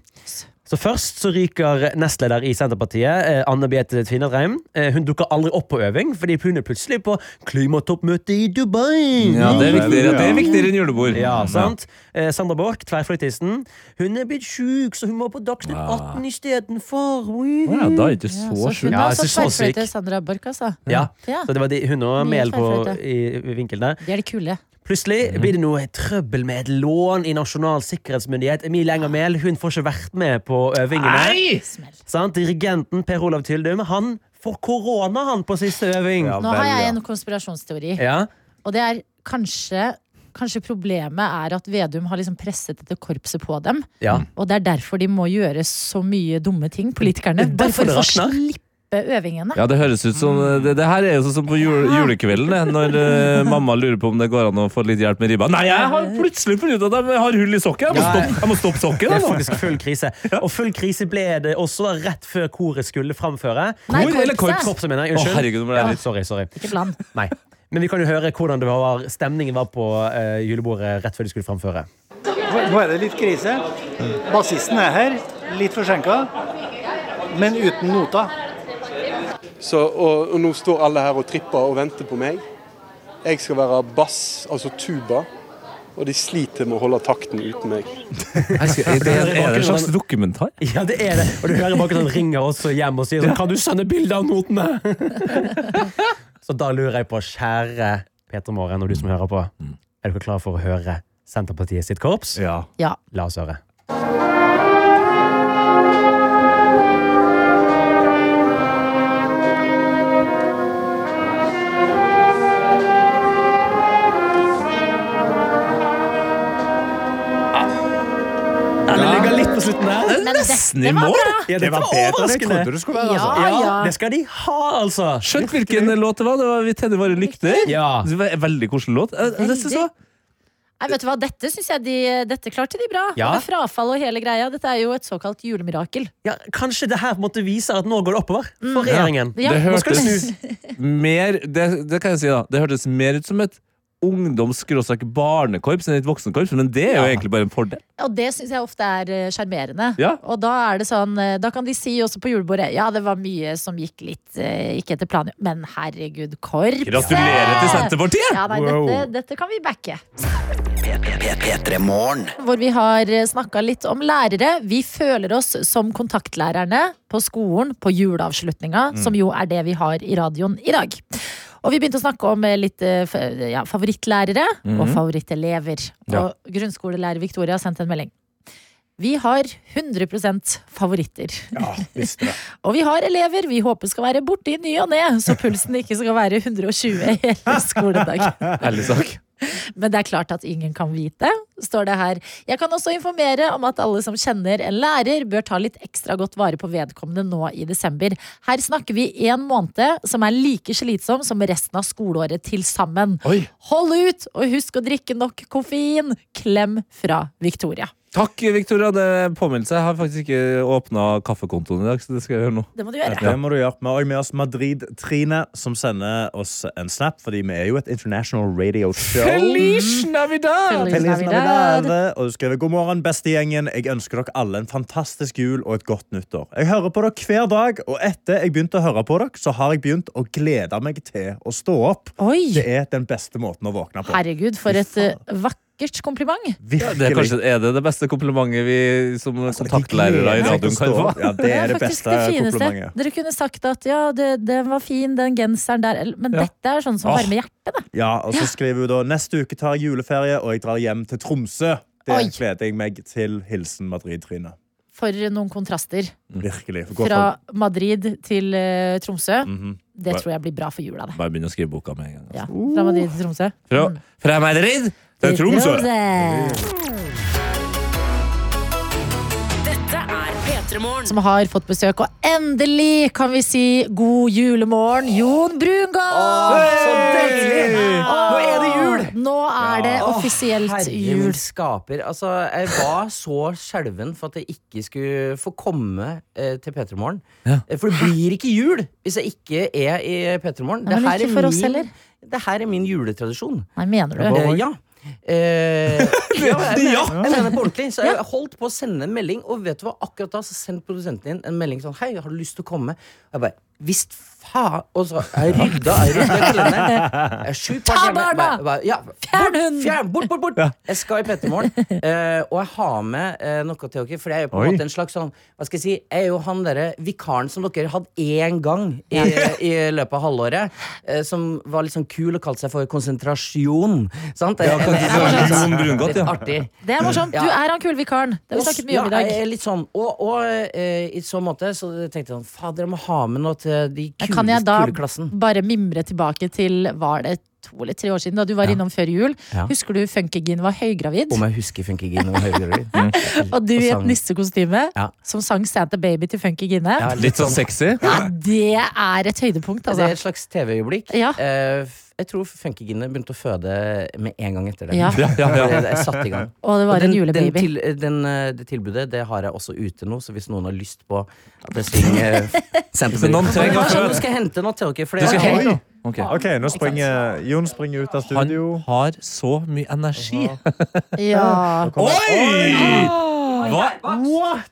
Speaker 8: Så først så ryker nestleder i Senterpartiet, eh, Anne Beathe Tvinnereim. Eh, hun dukker aldri opp på øving, fordi hun er plutselig på klimatoppmøte i Dubai.
Speaker 4: Ja, det er viktigere, det er viktigere enn julebord.
Speaker 8: Mm. Ja, sant? Eh, Sandra Borch, tverrfløytisten. Hun er blitt sjuk, så hun må på Dagsnytt 18 istedenfor.
Speaker 4: Ja. Å ja, da er det ikke
Speaker 3: Ja,
Speaker 4: så
Speaker 3: hun
Speaker 4: sjukt.
Speaker 8: Ja,
Speaker 3: er
Speaker 8: jeg
Speaker 3: også
Speaker 8: synes så syk.
Speaker 3: tverrfløyte, Sandra Borch, altså.
Speaker 8: Ja.
Speaker 3: Ja.
Speaker 8: Så det var de, hun og
Speaker 3: Mye
Speaker 8: Mel på,
Speaker 3: feilfløyte.
Speaker 8: i, i vinkel der.
Speaker 3: De er de kule.
Speaker 8: Plutselig blir det noe trøbbel med et lån i Nasjonal sikkerhetsmyndighet. Emilie Enger Mehl hun får ikke vært med på øvingene.
Speaker 3: Smell.
Speaker 8: Sant? Dirigenten Per Olav Tyldum han får korona han på siste øving.
Speaker 5: Ja,
Speaker 3: Nå har
Speaker 5: vel,
Speaker 3: jeg
Speaker 5: ja.
Speaker 3: en konspirasjonsteori.
Speaker 8: Ja.
Speaker 3: Og det er kanskje Kanskje problemet er at Vedum har liksom presset dette korpset på dem.
Speaker 8: Ja.
Speaker 3: Og det er derfor de må gjøre så mye dumme ting, politikerne.
Speaker 8: Det er
Speaker 3: Bare
Speaker 8: derfor
Speaker 3: for å
Speaker 8: det
Speaker 3: få
Speaker 8: rakner.
Speaker 3: slippe øvingene.
Speaker 4: Ja, Det høres ut som Det, det her er jo sånn som på jule, julekvelden, det, når eh, mamma lurer på om det går an å få litt hjelp med ribba. Nei, jeg har plutselig funnet ut at jeg har hull i sokken! Jeg må
Speaker 8: Ja.
Speaker 4: stoppe, jeg må stoppe sånn. sokken!
Speaker 8: Det
Speaker 4: jeg
Speaker 8: er
Speaker 4: nå.
Speaker 8: faktisk full krise. Og full krise ble det også da, rett før koret skulle framføre.
Speaker 3: Nei,
Speaker 4: Kor eller
Speaker 3: korpset.
Speaker 8: Korpset, mener jeg.
Speaker 4: Å,
Speaker 8: Unnskyld.
Speaker 4: herregud, nå ble jeg litt
Speaker 8: Sorry, sorry.
Speaker 3: Ikke plan.
Speaker 8: Nei. Men vi kan jo høre hvordan det var, stemningen var på eh, julebordet rett før de skulle framføre.
Speaker 9: Nå er det litt krise. Bassisten er her, litt forsinka, men uten nota.
Speaker 10: Så, og, og nå står alle her og tripper og venter på meg. Jeg skal være bass, altså tuba. Og de sliter med å holde takten uten meg.
Speaker 4: Jeg skal- Er det er det en slags dokumentar?
Speaker 8: Ja, det er det. Og du hører bak sånn ringer også hjem og sier sånn, Kan du sende bilde av notene? Så da lurer jeg på, kjære Peter Måren og du som hører på, er dere klar for å høre Senterpartiet sitt korps?
Speaker 5: Ja.
Speaker 3: Ja.
Speaker 8: La oss høre. Ja, det ligger litt på slutten her.
Speaker 3: Men dette var bra!
Speaker 8: Ja,
Speaker 5: Det var bedre enn jeg trodde det skulle være.
Speaker 3: Ja,
Speaker 5: Altså.
Speaker 3: ja.
Speaker 8: Ja, det skal de ha, altså.
Speaker 4: Skjønt hvilken låt det var. Det var Vi tenner våre lykter.
Speaker 8: Ja.
Speaker 4: Det var en veldig koselig låt. Jeg, jeg synes det var-
Speaker 3: Nei, vet du hva, Dette synes jeg de, dette klarte de bra.
Speaker 8: Ja.
Speaker 3: Med frafall og hele greia. Dette er jo et såkalt julemirakel.
Speaker 8: Ja, kanskje det her på en måte viser at nå går det oppover for regjeringen.
Speaker 3: Mm. Ja.
Speaker 4: det
Speaker 8: Nå skal det
Speaker 4: hørtes
Speaker 8: snus.
Speaker 4: mer det, det kan jeg si da Det hørtes mer ut som et ungdoms-barnekorps enn et voksenkorps, men det er jo egentlig bare en fordel.
Speaker 3: Og det syns jeg ofte er eh, sjarmerende.
Speaker 4: Ja.
Speaker 3: Og da er det sånn, eh, da kan de si også på julebordet Ja, det var mye som gikk litt eh, ikke etter planen, men herregud, korpset!
Speaker 4: Gratulerer til Senterpartiet!
Speaker 3: Ja, nei,
Speaker 8: Wow.
Speaker 3: dette, dette kan vi backe.
Speaker 1: P3morgen.
Speaker 3: Hvor vi har snakka litt om lærere. Vi føler oss som kontaktlærerne på skolen på juleavslutninga, som jo er det vi har i radioen i dag. Og vi begynte å snakke om eh, litt eh, f- ja, favorittlærere og favorittelever.
Speaker 4: Ja.
Speaker 3: Og grunnskolelærer Victoria har sendt en melding. Vi har 100 favoritter.
Speaker 5: Ah, Visste det.
Speaker 3: Og vi har elever vi håper skal være borte i ny og ne, så pulsen ikke skal være 120 hele skoledagen.
Speaker 4: Ærlig sak.
Speaker 3: Men det er klart at ingen kan vite, står det her. Jeg kan også informere om at alle som kjenner en lærer, bør ta litt ekstra godt vare på vedkommende nå i desember. Her snakker vi én måned som er like slitsom som resten av skoleåret til sammen.
Speaker 4: Oi.
Speaker 3: Hold ut, og husk å drikke nok koffein! Klem fra Victoria.
Speaker 4: Takk, Victoria. Det er en påminnelse. Jeg har faktisk ikke åpna kaffekontoen i dag, så det skal jeg gjøre nå.
Speaker 3: Det må du gjøre.
Speaker 5: Det må du gjøre. Vi har også med oss Madrid-Trine, som sender oss en snap. Fordi vi er jo et international radio show.
Speaker 4: Feliz Navidad!
Speaker 3: Feliz
Speaker 5: Feliz
Speaker 3: Navidad.
Speaker 5: Navidad. Og du skriver God morgen, beste gjengen. Jeg ønsker dere alle en fantastisk jul og et godt nyttår. Jeg hører på dere hver dag, og etter jeg begynte å høre på dere, så har jeg begynt å glede meg til å stå opp. Det
Speaker 3: Oi!
Speaker 5: er den beste måten å våkne på.
Speaker 3: Herregud, for et eh, vakkert kompliment.
Speaker 4: Ja, det er, kanskje, er det det beste komplimentet vi som kontaktlærere i
Speaker 5: Gleder meg til
Speaker 4: radioen
Speaker 5: å
Speaker 4: kan
Speaker 5: stå
Speaker 4: få?
Speaker 5: opp. Ja, det er det
Speaker 3: faktisk
Speaker 5: beste komplimentet.
Speaker 3: Dere kunne sagt at ja, det, den var fin, den genseren der, eller- men
Speaker 4: Ja.
Speaker 3: dette er sånn som
Speaker 4: Åh.
Speaker 3: varmer hjertet.
Speaker 5: Ja, og så skriver hun da neste uke tar jeg juleferie, og jeg drar hjem til Tromsø. Det
Speaker 3: Oi.
Speaker 5: gleder jeg meg til. Hilsen Madrid-Trine.
Speaker 3: For noen kontraster.
Speaker 5: Virkelig. Gå
Speaker 3: Fra Madrid til eh, Tromsø.
Speaker 5: Mhm.
Speaker 3: Det tror jeg blir bra for jula, det.
Speaker 4: Bare begynn å skrive boka med en gang.
Speaker 3: Ja. Fra Madrid til Tromsø. Mm.
Speaker 4: Fra, fra Madrid til Tromsø!
Speaker 2: Dette er P3morgen.
Speaker 3: Som har fått besøk, og endelig kan vi si god julemorgen, Jon Brungaard!
Speaker 8: Så deilig! Nå er det jul!
Speaker 3: Nå er det offisielt
Speaker 11: Herre min
Speaker 3: jul.
Speaker 11: skaper. Altså, jeg var så skjelven for at jeg ikke skulle få komme eh, til P3 Morgen.
Speaker 4: Ja.
Speaker 11: Eh, For det blir ikke jul hvis jeg ikke er i P3 Morgen.
Speaker 3: Nei, men ikke for oss heller.
Speaker 11: det her er min juletradisjon.
Speaker 3: Nei, mener du?
Speaker 11: Eh, ja. Eh, ja, jeg mener, jeg mener på ordentlig. Så jeg holdt på å sende en melding, og vet du hva, akkurat da så sendte produsenten din en melding sånn Hei, har du lyst til å komme? Og jeg bare Visst faen! Og så jeg rydda jeg rydda kalenderen. Jeg er sju par
Speaker 3: Ta
Speaker 11: hjemme.
Speaker 3: barna!
Speaker 11: Bare- bare, ja,
Speaker 3: Fjern
Speaker 11: bort,
Speaker 3: hunden!
Speaker 11: Fjern! Bort, bort, bort! Jeg skal i P3 Morgen, eh, og jeg har med eh, noe til dere. For jeg er jo på en måte en slags sånn Hva skal jeg si? Jeg er jo han derre vikaren som dere hadde én gang i, i løpet av halvåret. eh, som var litt sånn kul og kalte seg for konsentrasjon. Sant? Jeg- jeg- jeg- jeg-
Speaker 4: Jon Brungot,
Speaker 11: Litt
Speaker 4: ja.
Speaker 11: artig.
Speaker 3: Det er morsomt. Du er han kule vikaren. Det har vi snakket mye om i dag.
Speaker 11: Ja, jeg er litt sånn. Og, og eh, i så måte så tenkte jeg sånn Fader, jeg må ha med noe til de
Speaker 3: Men
Speaker 11: kule,
Speaker 3: Kan jeg da
Speaker 11: kule klassen.
Speaker 3: bare mimre tilbake til Var det to eller tre år siden da du var innom før jul?
Speaker 11: Ja.
Speaker 3: Husker du Funkygin var høygravid?
Speaker 11: Om jeg husker Funkygine og Høygravid. Mm.
Speaker 3: Og du i et
Speaker 11: sang-
Speaker 3: nissekostyme
Speaker 11: Ja.
Speaker 3: som sang Santa Baby til Funkygine?
Speaker 11: Ja,
Speaker 4: Litt sånn sexy.
Speaker 3: Ja, det er et høydepunkt,
Speaker 11: Det er
Speaker 3: altså.
Speaker 11: et slags TV-øyeblikk.
Speaker 3: Ja.
Speaker 11: Eh, f- jeg tror funkygine begynte å føde med en gang etter det.
Speaker 3: Ja.
Speaker 4: Ja, ja, ja.
Speaker 11: Jeg, jeg satte i gang.
Speaker 3: Og det
Speaker 11: Og
Speaker 3: var
Speaker 11: den,
Speaker 3: en julebaby.
Speaker 11: Den til, den, eh, det tilbudet det har jeg også ute nå, så hvis noen har lyst på at jeg synger eh,
Speaker 4: Men noen trenger å
Speaker 11: Nå
Speaker 4: føde.
Speaker 11: skal jeg hente noe til dere. For
Speaker 4: Du
Speaker 11: det,
Speaker 4: skal
Speaker 11: Ok.
Speaker 4: hente noe? Ok.
Speaker 5: OK, nå springer Jon springer ut av
Speaker 4: Han
Speaker 5: studio.
Speaker 4: har så mye energi.
Speaker 3: Ja.
Speaker 5: Oi!
Speaker 4: Oi! Hva? What?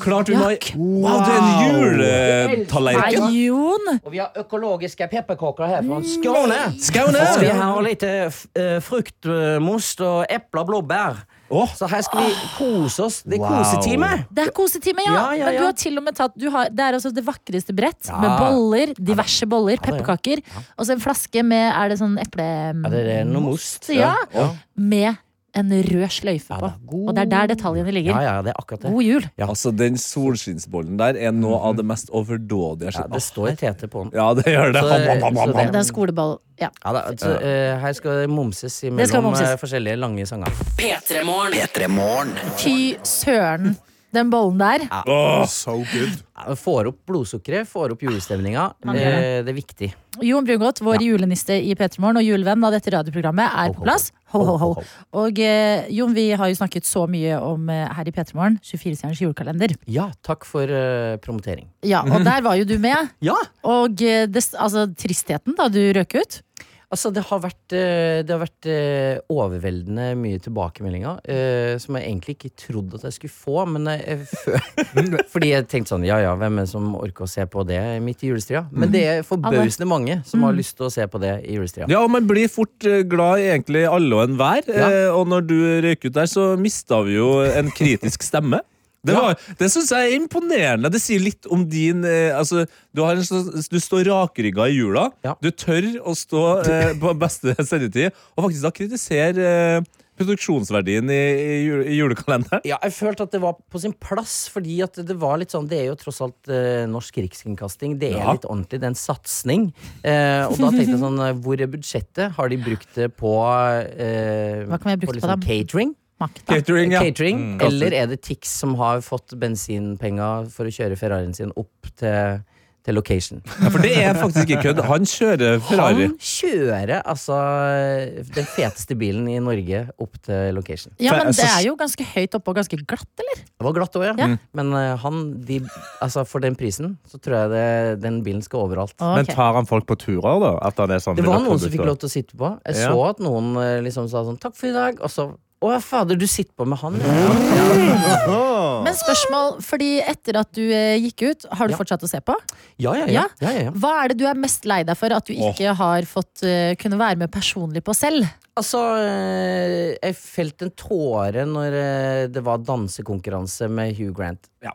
Speaker 4: Klart vi må Wow, det er en juletallerken!
Speaker 3: Nei, Jon!
Speaker 11: Og vi har økologiske pepperkaker her fra Skåne.
Speaker 4: Skåne!
Speaker 11: Og vi har litt eh, f- eh, fruktmost og epler og blåbær. Så her skal vi kose oss. Det er kosetime.
Speaker 3: Det er kosetime, ja.
Speaker 11: Ja, ja,
Speaker 3: Men du
Speaker 11: ja.
Speaker 3: har til og med tatt du har, Det er altså det vakreste brett
Speaker 11: Ja.
Speaker 3: med boller, diverse boller, pepperkaker. Og så en flaske med Er det sånn eple...
Speaker 11: Ja, det er noe most.
Speaker 3: Ja.
Speaker 11: Ja.
Speaker 3: Med en rød sløyfe på. Og det er der detaljene
Speaker 11: ja,
Speaker 3: ligger.
Speaker 11: ja, det er akkurat det.
Speaker 3: God jul.
Speaker 4: Altså, Den solskinnsbollen der er noe av det mest overdådige jeg
Speaker 11: Ja,
Speaker 4: har
Speaker 11: det
Speaker 4: sett.
Speaker 11: står tete på den.
Speaker 4: Ja, det gjør det.
Speaker 11: Så-
Speaker 4: Ham,
Speaker 11: så
Speaker 4: ham, ham, ham, ham.
Speaker 11: det-
Speaker 3: Det er en skoleball. Ja.
Speaker 11: Ja, da, så, eh, her skal det momses
Speaker 3: Det skal
Speaker 11: imellom
Speaker 3: momses.
Speaker 11: eh, forskjellige lange sanger.
Speaker 2: P3morgen.
Speaker 1: P3morgen.
Speaker 3: Fy søren. Den bollen der.
Speaker 4: Åh,
Speaker 5: So good.
Speaker 11: Ja, Får opp blodsukkeret, får opp julestemninga.
Speaker 3: Man gjør
Speaker 11: Eh, det er viktig.
Speaker 3: Jon Brungot, vår juleniste i P3 Morgen og julevenn av dette radioprogrammet, er på plass. Ho, ho, ho. Og eh, Jon, vi har jo snakket så mye om eh, her i P3 Morgen 24-stjerners julekalender.
Speaker 11: Ja, takk for eh, promotering.
Speaker 3: Ja, og der var jo du med.
Speaker 11: Ja!
Speaker 3: Og eh, det, altså, tristheten da du røk ut.
Speaker 11: Altså, det har vært, eh, det har vært eh, overveldende mye tilbakemeldinger eh, som jeg egentlig ikke trodde at jeg skulle få, men eh, jeg, fø- Fordi jeg tenkte sånn, ja ja, hvem er det som orker å se på det midt i julestria? Men det er forbausende mange
Speaker 3: Mm.
Speaker 11: som har lyst til å se på det i julestria.
Speaker 4: Ja, og man blir fort eh, glad i egentlig alle og enhver.
Speaker 11: Ja.
Speaker 4: eh, Og når du røyk ut der, så mista vi jo en kritisk stemme. Det, var, det syns jeg er imponerende. Det sier litt om din eh, altså, du, har en slags, du står rakrygga i jula.
Speaker 11: Ja.
Speaker 4: Du tør å stå eh, på beste sendetid og faktisk da kritisere eh, produksjonsverdien i, i, jul, i julekalenderen.
Speaker 11: Ja, jeg følte at det var på sin plass, fordi at det var litt sånn Det er jo tross alt eh, norsk rikskringkasting. Det er
Speaker 4: Ja.
Speaker 11: litt ordentlig. Det er en satsing. Eh, og da tenkte jeg sånn eh, Hvor er budsjettet? Har de brukt det på eh,
Speaker 3: Hva kan vi ha brukt det på da?
Speaker 11: catering?
Speaker 3: Makta.
Speaker 4: Catering, ja. Mm,
Speaker 11: catering?
Speaker 4: Kasser.
Speaker 11: Eller er det Tix som har fått bensinpenger for å kjøre Ferrarien sin opp til, til location?
Speaker 4: ja. For det er faktisk ikke kødd. Han kjører Ferrari.
Speaker 11: Han kjører altså den feteste bilen i Norge opp til location.
Speaker 3: Ja, men
Speaker 4: altså,
Speaker 3: det er jo ganske høyt oppe og ganske glatt, eller?
Speaker 11: Det var glatt òg, ja.
Speaker 5: Mm.
Speaker 11: Men eh, han, de, altså for den prisen, så tror jeg det, den bilen skal overalt.
Speaker 5: Men
Speaker 3: Ok.
Speaker 5: tar han folk på turer, da? At han er sånn
Speaker 11: Det var noen som
Speaker 5: vinnerprodukter?
Speaker 11: fikk lov til å sitte på. Jeg
Speaker 5: Ja.
Speaker 11: så at noen eh, liksom sa sånn 'takk for i dag', og så 'Å ja, fader, du sitter på med han'.
Speaker 5: Åh.
Speaker 3: Men spørsmål, fordi etter at du eh, gikk ut, har du
Speaker 11: Ja.
Speaker 3: fortsatt å se på?
Speaker 11: Ja, ja, ja.
Speaker 3: Ja.
Speaker 11: ja, ja, ja.
Speaker 3: Hva er det du er mest lei deg for at du ikke har fått eh, kunne være med personlig på selv?
Speaker 11: Altså, eh, jeg felte en tåre når eh, det var dansekonkurranse med Hugh Grant. Da,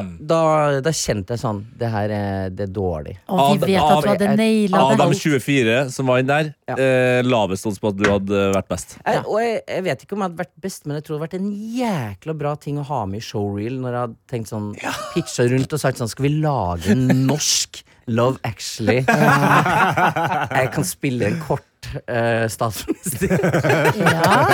Speaker 5: Mm.
Speaker 11: da, da kjente jeg sånn Det her er, det er dårlig.
Speaker 3: Og
Speaker 4: Ad-
Speaker 3: vi vet at du
Speaker 4: Ad-
Speaker 11: eh,
Speaker 3: hadde naila
Speaker 4: Adam
Speaker 3: det.
Speaker 4: 24, som var den der,
Speaker 11: Ja.
Speaker 4: eh, lavest odds på at du hadde vært best.
Speaker 11: Jeg, og jeg, jeg vet ikke om jeg hadde vært best, men jeg tror det hadde vært en jækla bra ting å ha med i showreel. Når jeg hadde tenkt sånn pitcha rundt og sagt sånn Skal vi lage en norsk Love Actually? jeg kan spille en kort eh, statsminister.
Speaker 3: Ja.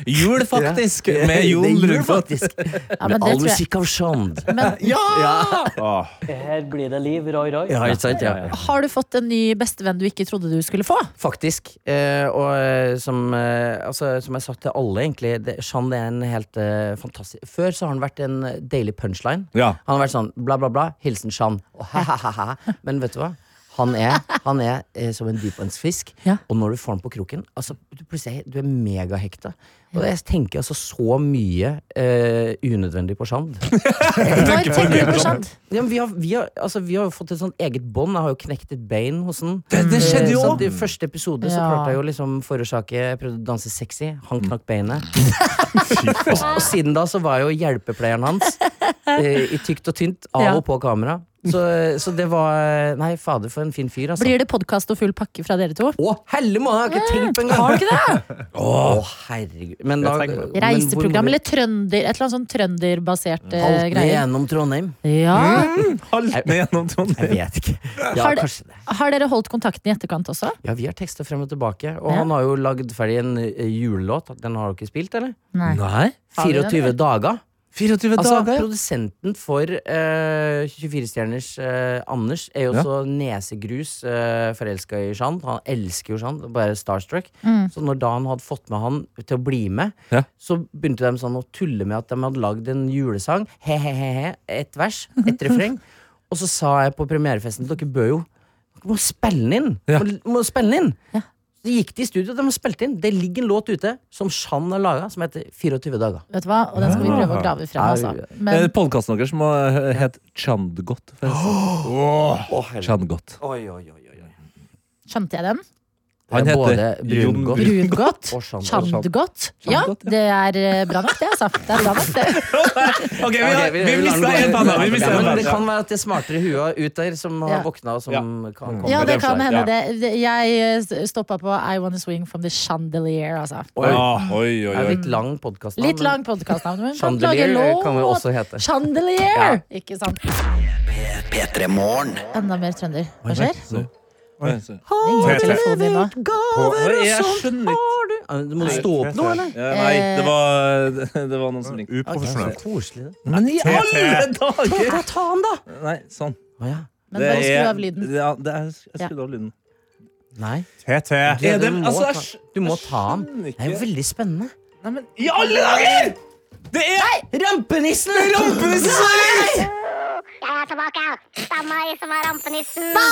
Speaker 4: Jul, faktisk! Med Jon
Speaker 11: Det gjør jeg
Speaker 4: Brunfot.
Speaker 11: faktisk.
Speaker 3: Ja, men det
Speaker 11: Med all
Speaker 3: tror jeg.
Speaker 11: musikk av Sjand.
Speaker 4: Ah,
Speaker 5: Åh.
Speaker 6: Her blir det liv, roi, roi.
Speaker 11: Ja, ikke sant? Ja.
Speaker 3: Har du fått en ny bestevenn du ikke trodde du skulle få?
Speaker 11: Faktisk. Eh, og eh, som, eh, altså, som jeg sa til alle, egentlig det, Jeanne er en helt eh, fantastisk Før så har han vært en deilig punchline.
Speaker 4: Ja.
Speaker 11: Han har vært sånn bla, bla, bla. Hilsen Jeanne. Og ha-ha-ha. Men vet du hva? Han er, han er eh, som en dypvannsfisk,
Speaker 3: Ja.
Speaker 11: og når du får den på kroken altså, du, Plutselig du er megahekta. Og jeg tenker altså så mye eh, unødvendig på Sjand.
Speaker 3: Når tenker du på Shand?
Speaker 11: Ja, men vi, har, vi, har, altså, vi har jo fått et sånt eget bånd. Jeg har jo knekt et bein hos den.
Speaker 4: Det- det skjedde
Speaker 11: Eh,
Speaker 4: jo
Speaker 11: så
Speaker 4: også.
Speaker 11: I første episode så
Speaker 3: Ja.
Speaker 11: klarte jeg jo liksom forårsake Jeg prøvde å danse sexy. Han knakk beinet. og,
Speaker 5: altså.
Speaker 11: og siden da så var jo hjelpepleieren hans eh, i tykt og tynt, av
Speaker 3: Ja.
Speaker 11: og på kamera. Så, så det var Nei, fader, for en fin fyr, altså.
Speaker 3: Blir det podkast og full pakke fra dere to?
Speaker 11: Å, helle må jeg har ikke tenkt på engang!
Speaker 3: Har du ikke det?
Speaker 11: Å, herregud. Men da men hvor-
Speaker 3: Reiseprogram eller trønder, et eller annet sånn trønderbasert eh,
Speaker 11: Alt ned
Speaker 3: greie.
Speaker 11: gjennom Trondheim. Mm.
Speaker 3: Ja.
Speaker 4: Haltende gjennom
Speaker 11: Jeg
Speaker 4: Trondheim.
Speaker 11: vet ikke. Ja,
Speaker 3: Har det-
Speaker 11: kanskje det.
Speaker 3: Har dere holdt kontakten i etterkant også?
Speaker 11: Ja, vi har teksta frem og tilbake. Og
Speaker 3: Ja.
Speaker 11: han har jo lagd ferdig en eh, julelåt. Den har dere spilt, eller?
Speaker 3: Nei. Har vi den,
Speaker 11: 24
Speaker 3: eller?
Speaker 11: dager.
Speaker 4: 24
Speaker 11: Altså,
Speaker 4: dager.
Speaker 11: Produsenten for eh, 24-stjerners eh, Anders er jo så nesegrus uh, forelska i Jeanne. Han elsker jo Jeanne, bare starstruck. Så når da han hadde fått med han til å bli med,
Speaker 4: Mm. Ja.
Speaker 11: så begynte de sånn å tulle med at de hadde lagd en julesang. He-he-he. Ett vers, ett refreng. Og så sa jeg på premierefesten dere bør jo dere må spille den inn!
Speaker 4: Ja.
Speaker 11: Må, må spille den inn! Så gikk de i studio, de spilte inn. Det ligger en låt ute som Shan har laga, som heter 24 dager.
Speaker 3: Vet du hva? Og den skal vi prøve å grave frem. Altså. Men
Speaker 4: Podkasten deres må eh, hete Chandgot. forresten. sånn. Chandgot.
Speaker 11: Oi, oi, oi.
Speaker 3: skjønte jeg den?
Speaker 4: Han
Speaker 11: Det er
Speaker 4: heter
Speaker 11: både Brungot.
Speaker 4: Brun-
Speaker 3: Brungot.
Speaker 11: Og Shan-
Speaker 3: Chandgodt. Ja, det er eh, bra nok, det, altså. Det er bra nok, det.
Speaker 4: Ok, vi,
Speaker 11: Ja,
Speaker 4: har,
Speaker 11: ok,
Speaker 4: vi mista
Speaker 11: lar den
Speaker 4: en
Speaker 11: gå.
Speaker 4: panne. Vi mistet
Speaker 11: Ja,
Speaker 4: en
Speaker 11: men Det
Speaker 4: panne.
Speaker 11: kan være at det er smartere huer ut der som har
Speaker 3: Ja.
Speaker 11: våkna og som kan komme
Speaker 3: Ja,
Speaker 11: med
Speaker 3: det kan
Speaker 11: forslaget.
Speaker 3: hende, det. Det- Jeg stoppa på I Wanna Swing From The Chandelier, altså.
Speaker 11: Oi.
Speaker 4: Ah, Oi,
Speaker 11: Det
Speaker 4: oi,
Speaker 11: er
Speaker 4: oi.
Speaker 11: litt lang podkast.
Speaker 3: Litt lang podkastnavn, men kan lage
Speaker 11: Chandelier eh, kan vi
Speaker 3: låt.
Speaker 11: også hete.
Speaker 3: Chandelier! Ikke sant?
Speaker 1: P3 Morgen.
Speaker 3: Enda mer trønder. Hva skjer?
Speaker 4: Oi, så-
Speaker 3: Ringer det telefonen din nå?
Speaker 4: Oi, Jeg skjønner ikke
Speaker 11: Ja, men Må du stå opp nå, eller?
Speaker 4: Eh, Nei, det var, det var noen som ringte.
Speaker 5: Uprofesjonelt.
Speaker 11: Koselig, det.
Speaker 4: Men i alle dager!
Speaker 11: Ja, ta den, da!
Speaker 4: Nei, sånn.
Speaker 11: Å, ja.
Speaker 3: Men bare skru av lyden.
Speaker 4: det er, det er, jeg
Speaker 3: Ja.
Speaker 4: skrudde av lyden.
Speaker 11: Nei.
Speaker 5: TT.
Speaker 4: Er det-
Speaker 11: du, må
Speaker 4: altså, jeg
Speaker 11: ta,
Speaker 4: skj-
Speaker 11: du må
Speaker 4: jeg
Speaker 11: ta den.
Speaker 4: skjønner
Speaker 11: Det er
Speaker 4: ikke.
Speaker 11: jo veldig spennende.
Speaker 4: Nei, men i alle dager! Det er
Speaker 11: Rampenissen!
Speaker 12: Jeg er tilbake. Det er meg som er rampenissen.
Speaker 4: Det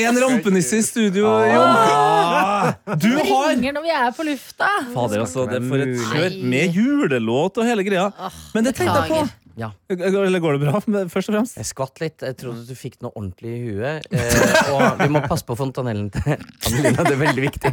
Speaker 4: er en rampenisse i studio, Jon. Du
Speaker 3: Det
Speaker 4: har
Speaker 3: ringer når vi er på lufta.
Speaker 4: Ah. Fader, altså. Det er for et kjør med julelåt og hele greia. Men det tenkte jeg på.
Speaker 11: Ja.
Speaker 4: Eller går det bra, men først og fremst?
Speaker 11: Jeg skvatt litt. Jeg trodde du fikk noe ordentlig i huet. Eh, og vi må passe på fontanellen til Adelina. Det er veldig viktig.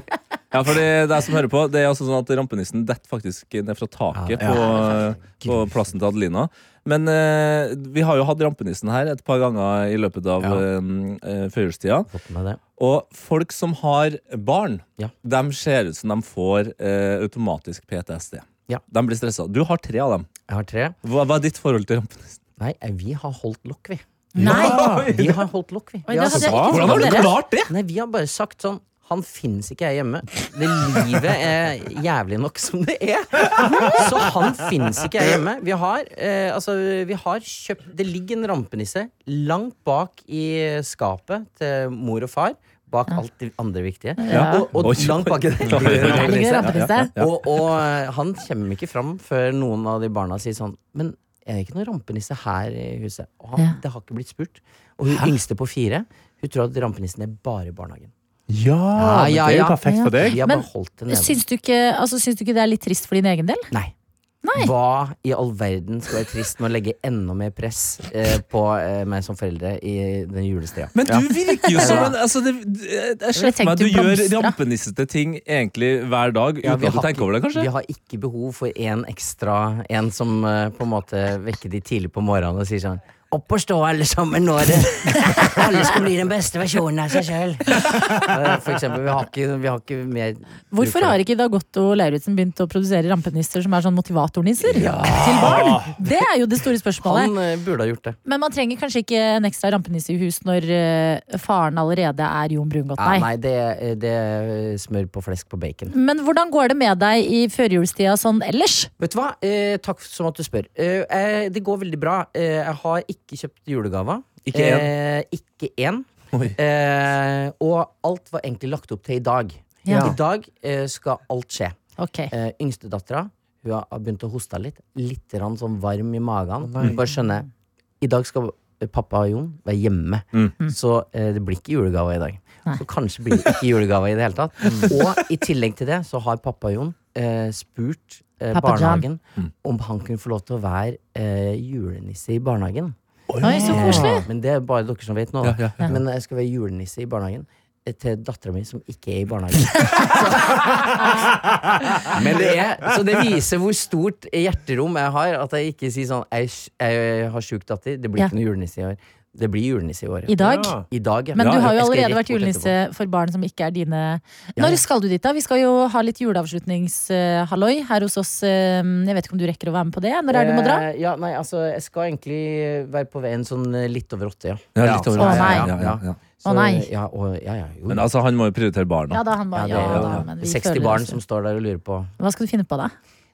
Speaker 4: Ja, for det, det er som hører på, det er altså sånn at rampenissen detter faktisk ned fra taket
Speaker 11: Ja,
Speaker 4: På, på plassen til Adelina. Men eh, vi har jo hatt rampenissen her et par ganger i løpet av
Speaker 11: Ja.
Speaker 4: eh, eh, førjulstida.
Speaker 11: Fått med det.
Speaker 4: Og folk som har barn,
Speaker 11: Ja.
Speaker 4: de ser ut som de får eh, automatisk PTSD.
Speaker 11: Ja.
Speaker 4: De blir stressa. Du har tre av dem.
Speaker 11: Jeg har tre.
Speaker 4: Hva, hva er ditt forhold til rampenissen?
Speaker 11: Nei, eh, vi har holdt lokk, vi.
Speaker 3: Nei!
Speaker 11: Vi har holdt lokk, vi.
Speaker 3: Oi,
Speaker 11: vi
Speaker 3: det
Speaker 11: har
Speaker 3: hadde jeg
Speaker 11: sagt-
Speaker 3: ikke Hvordan har du trodd.
Speaker 4: klart det?
Speaker 11: Nei, vi har bare sagt sånn han finnes ikke jeg hjemme. Det livet er jævlig nok som det er. Så han finnes ikke jeg hjemme. Vi har, eh, altså, vi har kjøpt Det ligger en rampenisse langt bak i skapet til mor og far. Bak alt det andre viktige.
Speaker 3: Ja.
Speaker 11: Og, og
Speaker 4: Oi.
Speaker 11: langt bak i
Speaker 4: Der ligger en
Speaker 3: Der ligger det rampelyset.
Speaker 11: og, og eh, han kommer ikke fram før noen av de barna sier sånn Men er det ikke noen rampenisse her i huset? Og han,
Speaker 3: Ja.
Speaker 11: Det har ikke blitt spurt. Og hun yngste på fire Hun tror at rampenissen er bare i barnehagen. Ah,
Speaker 5: Ja, men det er jo perfekt for deg.
Speaker 11: Vi har
Speaker 3: Men
Speaker 11: bare holdt det nede.
Speaker 3: Syns du, ikke, altså, syns du ikke det er litt trist for din egen del?
Speaker 11: Nei. Hva i all verden skal være trist med å legge enda mer press eh, på eh, meg som foreldre i den julestria?
Speaker 4: Men du virker jo som en altså, det, Jeg ser for
Speaker 3: tenkte
Speaker 4: meg at du
Speaker 3: du
Speaker 4: gjør
Speaker 3: blomstra.
Speaker 4: rampenissete ting egentlig hver dag
Speaker 11: Ja,
Speaker 4: uten at du tenker over det, kanskje?
Speaker 11: vi har ikke behov for en ekstra En som eh, på en måte vekker de tidlig på morgenen og sier sånn Opp og stå, alle sammen, nå er det Alle skal bli den beste versjonen av seg sjøl. For eksempel. Vi har ikke, vi har ikke mer
Speaker 3: Hvorfor har ikke Dagotto Lauritzen begynt å produsere rampenisser som er sånn motivatornisser til barn? Det er jo det store spørsmålet.
Speaker 11: Han eh, burde ha gjort det.
Speaker 3: Men man trenger kanskje ikke en ekstra rampenisse i hus når eh, faren allerede er Jon Brungot,
Speaker 11: Nei,
Speaker 3: nei.
Speaker 11: nei det, eh, det er smør på flesk på bacon.
Speaker 3: Men hvordan går det med deg i førjulstida sånn ellers?
Speaker 11: Vet du hva? Eh, takk som at du spør. Eh, eh, det går veldig bra. Eh, jeg har ikke kjøpt julegaver.
Speaker 4: Ikke en?
Speaker 11: Eh, ikke én.
Speaker 4: Oi.
Speaker 11: Eh, og alt var egentlig lagt opp til i dag.
Speaker 3: Ja.
Speaker 11: I dag eh, skal alt skje.
Speaker 3: Ok.
Speaker 11: Eh, Yngstedattera hun har har begynt å hoste litt. Litt rann sånn varm i magen. Hun bare skjønner I dag skal eh, pappa og Jon være hjemme,
Speaker 4: Mm.
Speaker 3: Mm.
Speaker 11: så eh, det blir ikke julegave i dag. Så kanskje blir det ikke julegave i det hele tatt.
Speaker 4: Mm.
Speaker 11: Og i tillegg til det så har pappa og Jon eh, spurt eh,
Speaker 3: Pappa
Speaker 11: barnehagen
Speaker 4: Mm.
Speaker 11: om han kunne få lov til å være eh, julenisse i barnehagen. Eh,
Speaker 3: Oi, så koselig.
Speaker 11: Men det er bare dere som vet nå.
Speaker 4: Ja,
Speaker 11: da.
Speaker 4: ja, ja.
Speaker 11: Men jeg skal være julenisse i barnehagen eh, til dattera mi som ikke er i barnehagen. Men det er, så det viser hvor stort hjerterom jeg har, at jeg ikke sier sånn Jeg, jeg har sjuk datter, det blir
Speaker 3: Ja.
Speaker 11: ikke noe julenisse i år. Det blir julenisse i år.
Speaker 3: I dag?
Speaker 5: Ja.
Speaker 11: I dag ja.
Speaker 3: Men du har jo
Speaker 11: Jeg skal
Speaker 3: allerede
Speaker 11: rett
Speaker 3: vært eh,
Speaker 11: bort
Speaker 3: julenisse for barn som ikke er dine.
Speaker 11: Ja,
Speaker 3: Når
Speaker 11: ja.
Speaker 3: skal du dit, da? Vi skal jo ha litt juleavslutningshalloi her hos oss. eh, Jeg vet ikke om du rekker å være med på det? Når er det du må dra?
Speaker 11: Eh, Ja, nei, altså, jeg skal egentlig være på veien sånn eh, litt over åtte, ja.
Speaker 4: Ja, litt over
Speaker 3: Å,
Speaker 4: åtte,
Speaker 3: nei.
Speaker 4: ja, ja, ja.
Speaker 11: Så,
Speaker 3: Å, nei.
Speaker 11: Ja, og, ja, ja, jo.
Speaker 4: Men altså, han må jo prioritere
Speaker 3: Ja
Speaker 4: barna.
Speaker 3: da, han
Speaker 11: ja,
Speaker 3: bare,
Speaker 11: det,
Speaker 3: ja,
Speaker 11: er jo
Speaker 3: da,
Speaker 11: det.
Speaker 3: men vi
Speaker 11: 60
Speaker 3: føler
Speaker 11: barn
Speaker 3: oss-
Speaker 11: som står der og lurer på
Speaker 3: Hva skal du finne på, da?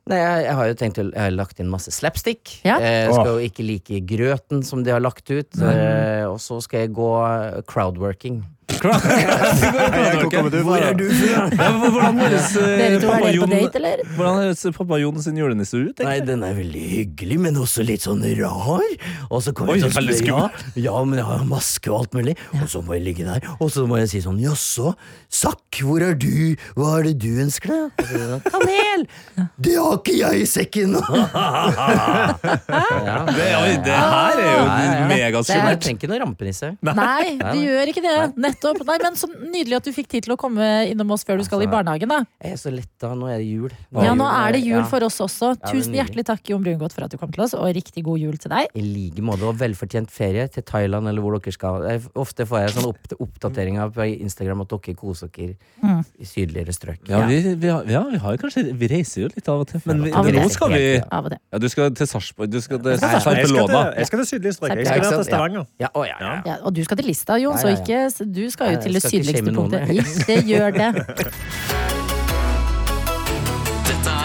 Speaker 11: Nei, jeg, jeg har jo tenkt å jeg har lagt inn masse slapstick.
Speaker 3: Ja.
Speaker 11: Eh, skal jo ikke like grøten som de har lagt ut. Eh, og så skal jeg gå eh, crowdworking.
Speaker 4: Crowd-
Speaker 5: Jeg går kommer du fra?
Speaker 4: Hvor er du fra? Ja, men hvordan høres eh,
Speaker 3: Dere to er dere
Speaker 4: pappa
Speaker 3: på
Speaker 4: Jon-
Speaker 3: date, eller?
Speaker 4: Hvordan høres pappa Jon sin julenisse ut?
Speaker 13: Nei, den er veldig hyggelig, men også litt sånn rar. Og så kommer
Speaker 4: Oi,
Speaker 13: jeg til å
Speaker 4: veldig
Speaker 13: spørre, ja, ja, men jeg har maske og alt mulig. Og så må jeg ligge der, og så må jeg si sånn Jaså, Sakk, hvor er du? Hva er det du ønsker deg? Og så sier han, Kanel! Det har ikke jeg i sekken!
Speaker 4: Det, oi, det her er jo
Speaker 11: Jeg
Speaker 4: megaskummelt.
Speaker 11: trenger ikke noe rampenisse.
Speaker 3: Nei, du gjør ikke det. Nettopp. Nei, men Så nydelig at du fikk tid til å komme innom oss før du
Speaker 11: Altså,
Speaker 3: skal i barnehagen. da.
Speaker 11: Jeg er så letta. Nå er det jul.
Speaker 3: Ja, Nå er det jul
Speaker 11: Ja.
Speaker 3: for oss også.
Speaker 11: Ja, det er
Speaker 3: Tusen
Speaker 11: nydelig.
Speaker 3: hjertelig takk, Jon Brungot, for at du kom til oss, og riktig god jul til deg.
Speaker 11: I like måte. Og velfortjent ferie til Thailand eller hvor dere skal. Jeg- Ofte får jeg sånne opp oppdateringer på Instagram at dere koser dere
Speaker 3: Mm.
Speaker 11: i sydligere strøk.
Speaker 4: Ja, vi, vi, har, ja, vi har jo kanskje Vi reiser jo litt av og til, men vi,
Speaker 11: Av og
Speaker 4: nå
Speaker 11: til.
Speaker 4: skal vi
Speaker 3: Av og til.
Speaker 4: ja, Du skal til Sarpsborg. Du skal til
Speaker 5: Jeg skal til Sarpsborg.
Speaker 4: Sarpelona.
Speaker 5: Jeg skal til sydlige strøk. Jeg
Speaker 11: Ja,
Speaker 5: skal
Speaker 11: ikke
Speaker 5: til
Speaker 11: sant? Ja.
Speaker 5: Stavanger.
Speaker 11: Ja, å, ja, ja.
Speaker 3: Ja, og du skal til Lista, Jon,
Speaker 11: Ja,
Speaker 3: så
Speaker 11: ja,
Speaker 3: ikke så Du skal jo
Speaker 11: Nei,
Speaker 3: til
Speaker 11: jeg
Speaker 3: det
Speaker 11: skal ikke
Speaker 3: sydligste
Speaker 11: shame noen,
Speaker 3: punktet.
Speaker 11: jeg.
Speaker 3: Ikke gjør det.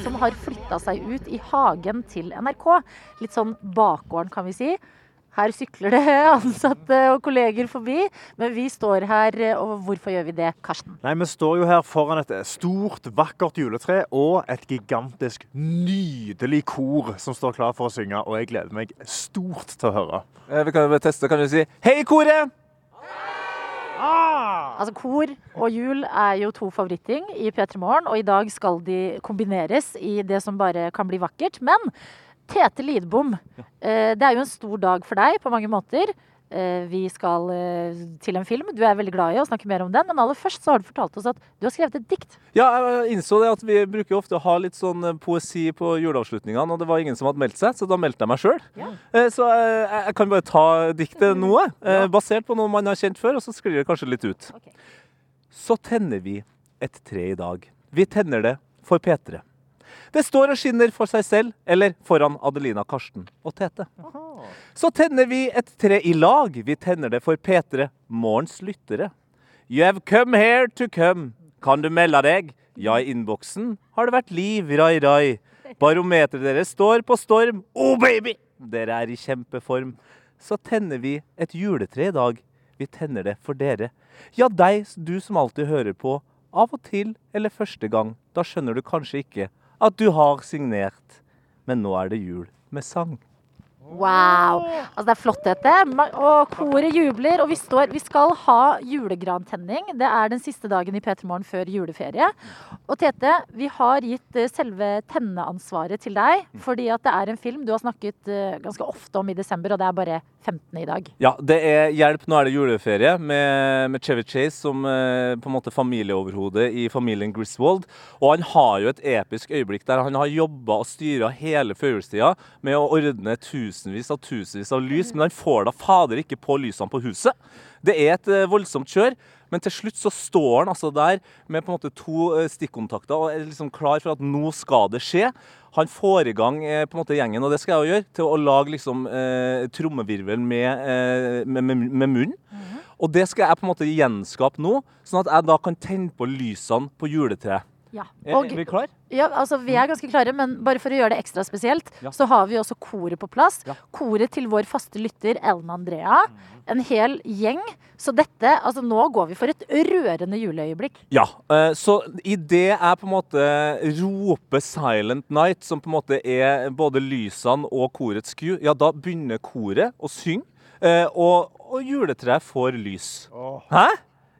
Speaker 3: Som har flytta seg ut i hagen til NRK. Litt sånn bakgården, kan vi si. Her sykler det ansatte og kolleger forbi, men vi står her, og hvorfor gjør vi det, Karsten?
Speaker 5: Nei, Vi står jo her foran et stort, vakkert juletre og et gigantisk, nydelig kor som står klar for å synge, og jeg gleder meg stort til å høre.
Speaker 4: Eh,
Speaker 5: Vi kan teste, kan du si Hei, koret!
Speaker 3: Altså, Kor og jul er jo to favoritting i P3 Morgen, og i dag skal de kombineres i det som bare kan bli vakkert. Men Tete Lidbom, eh, det er jo en stor dag for deg på mange måter. Eh, Vi skal eh, til en film. Du er veldig glad i å snakke mer om den, men aller først så har du fortalt oss at du har skrevet et dikt.
Speaker 4: Ja, jeg innså det at vi bruker jo ofte å ha litt sånn poesi på juleavslutningene, og det var ingen som hadde meldt seg, så da meldte jeg meg sjøl. Så jeg, jeg kan bare ta diktet nå, jeg. Eh, basert på noe man har kjent før, og så sklir det kanskje litt ut. Så tenner vi et tre i dag. Vi tenner det for P3. Det står og skinner for seg selv, eller foran Adelina, Karsten og Tete. Så tenner vi et tre i lag. Vi tenner det for P3, morgens lyttere. You have come here to come. Kan du melde deg? Ja, i innboksen har det vært liv, rai, rai. Barometeret deres står på storm. Oh, baby! Dere er i kjempeform. Så tenner vi et juletre i dag. Vi tenner det for dere. Ja, deg, du som alltid hører på. Av og til eller første gang. Da skjønner du kanskje ikke at du har signert. Men nå er det jul med sang.
Speaker 3: Wow! Altså Det er flott, dette. Ma- Og koret jubler. Og vi, står, vi skal ha julegrantenning. Det er den siste dagen i P3 Morgen før juleferie. Og Tete, vi har gitt eh, selve tenneansvaret til deg. Fordi at det er en film du har snakket eh, ganske ofte om i desember, og det er bare 15 i dag.
Speaker 4: Ja, det er Hjelp, nå er det juleferie med, med Chevy Chase som eh, på en måte familieoverhode i familien Griswold. Og han har jo et episk øyeblikk der han har jobba og styra hele førjulstida med å ordne tusenvis av tusenvis av lys, men han får da fader ikke på lysene på huset. Det er et eh, voldsomt kjør. Men til slutt så står han altså der med på en måte to eh, stikkontakter og er liksom klar for at nå skal det skje. Han får i gang eh, på en måte gjengen, og det skal jeg jo gjøre, til å lage liksom eh, trommevirvel med, eh, med, med, med munnen. Og det skal jeg på en måte gjenskape nå, sånn at jeg da kan tenne på lysene på juletreet.
Speaker 3: Ja.
Speaker 4: Er,
Speaker 3: Og,
Speaker 4: er Eh, vi klar?
Speaker 3: ja, altså Vi
Speaker 5: Mm.
Speaker 3: er ganske klare, men bare for å gjøre det ekstra spesielt,
Speaker 4: Ja.
Speaker 3: så har vi også koret på plass. Koret til vår faste lytter Ellen Andrea.
Speaker 5: Mm.
Speaker 3: En hel gjeng. Så dette Altså, nå går vi for et rørende juleøyeblikk.
Speaker 4: Ja. eh, Så idet jeg på en måte roper 'Silent Night', som på en måte er både lysene og korets ku, ja, da begynner koret å synge, eh, og, og juletreet får lys. Hæ?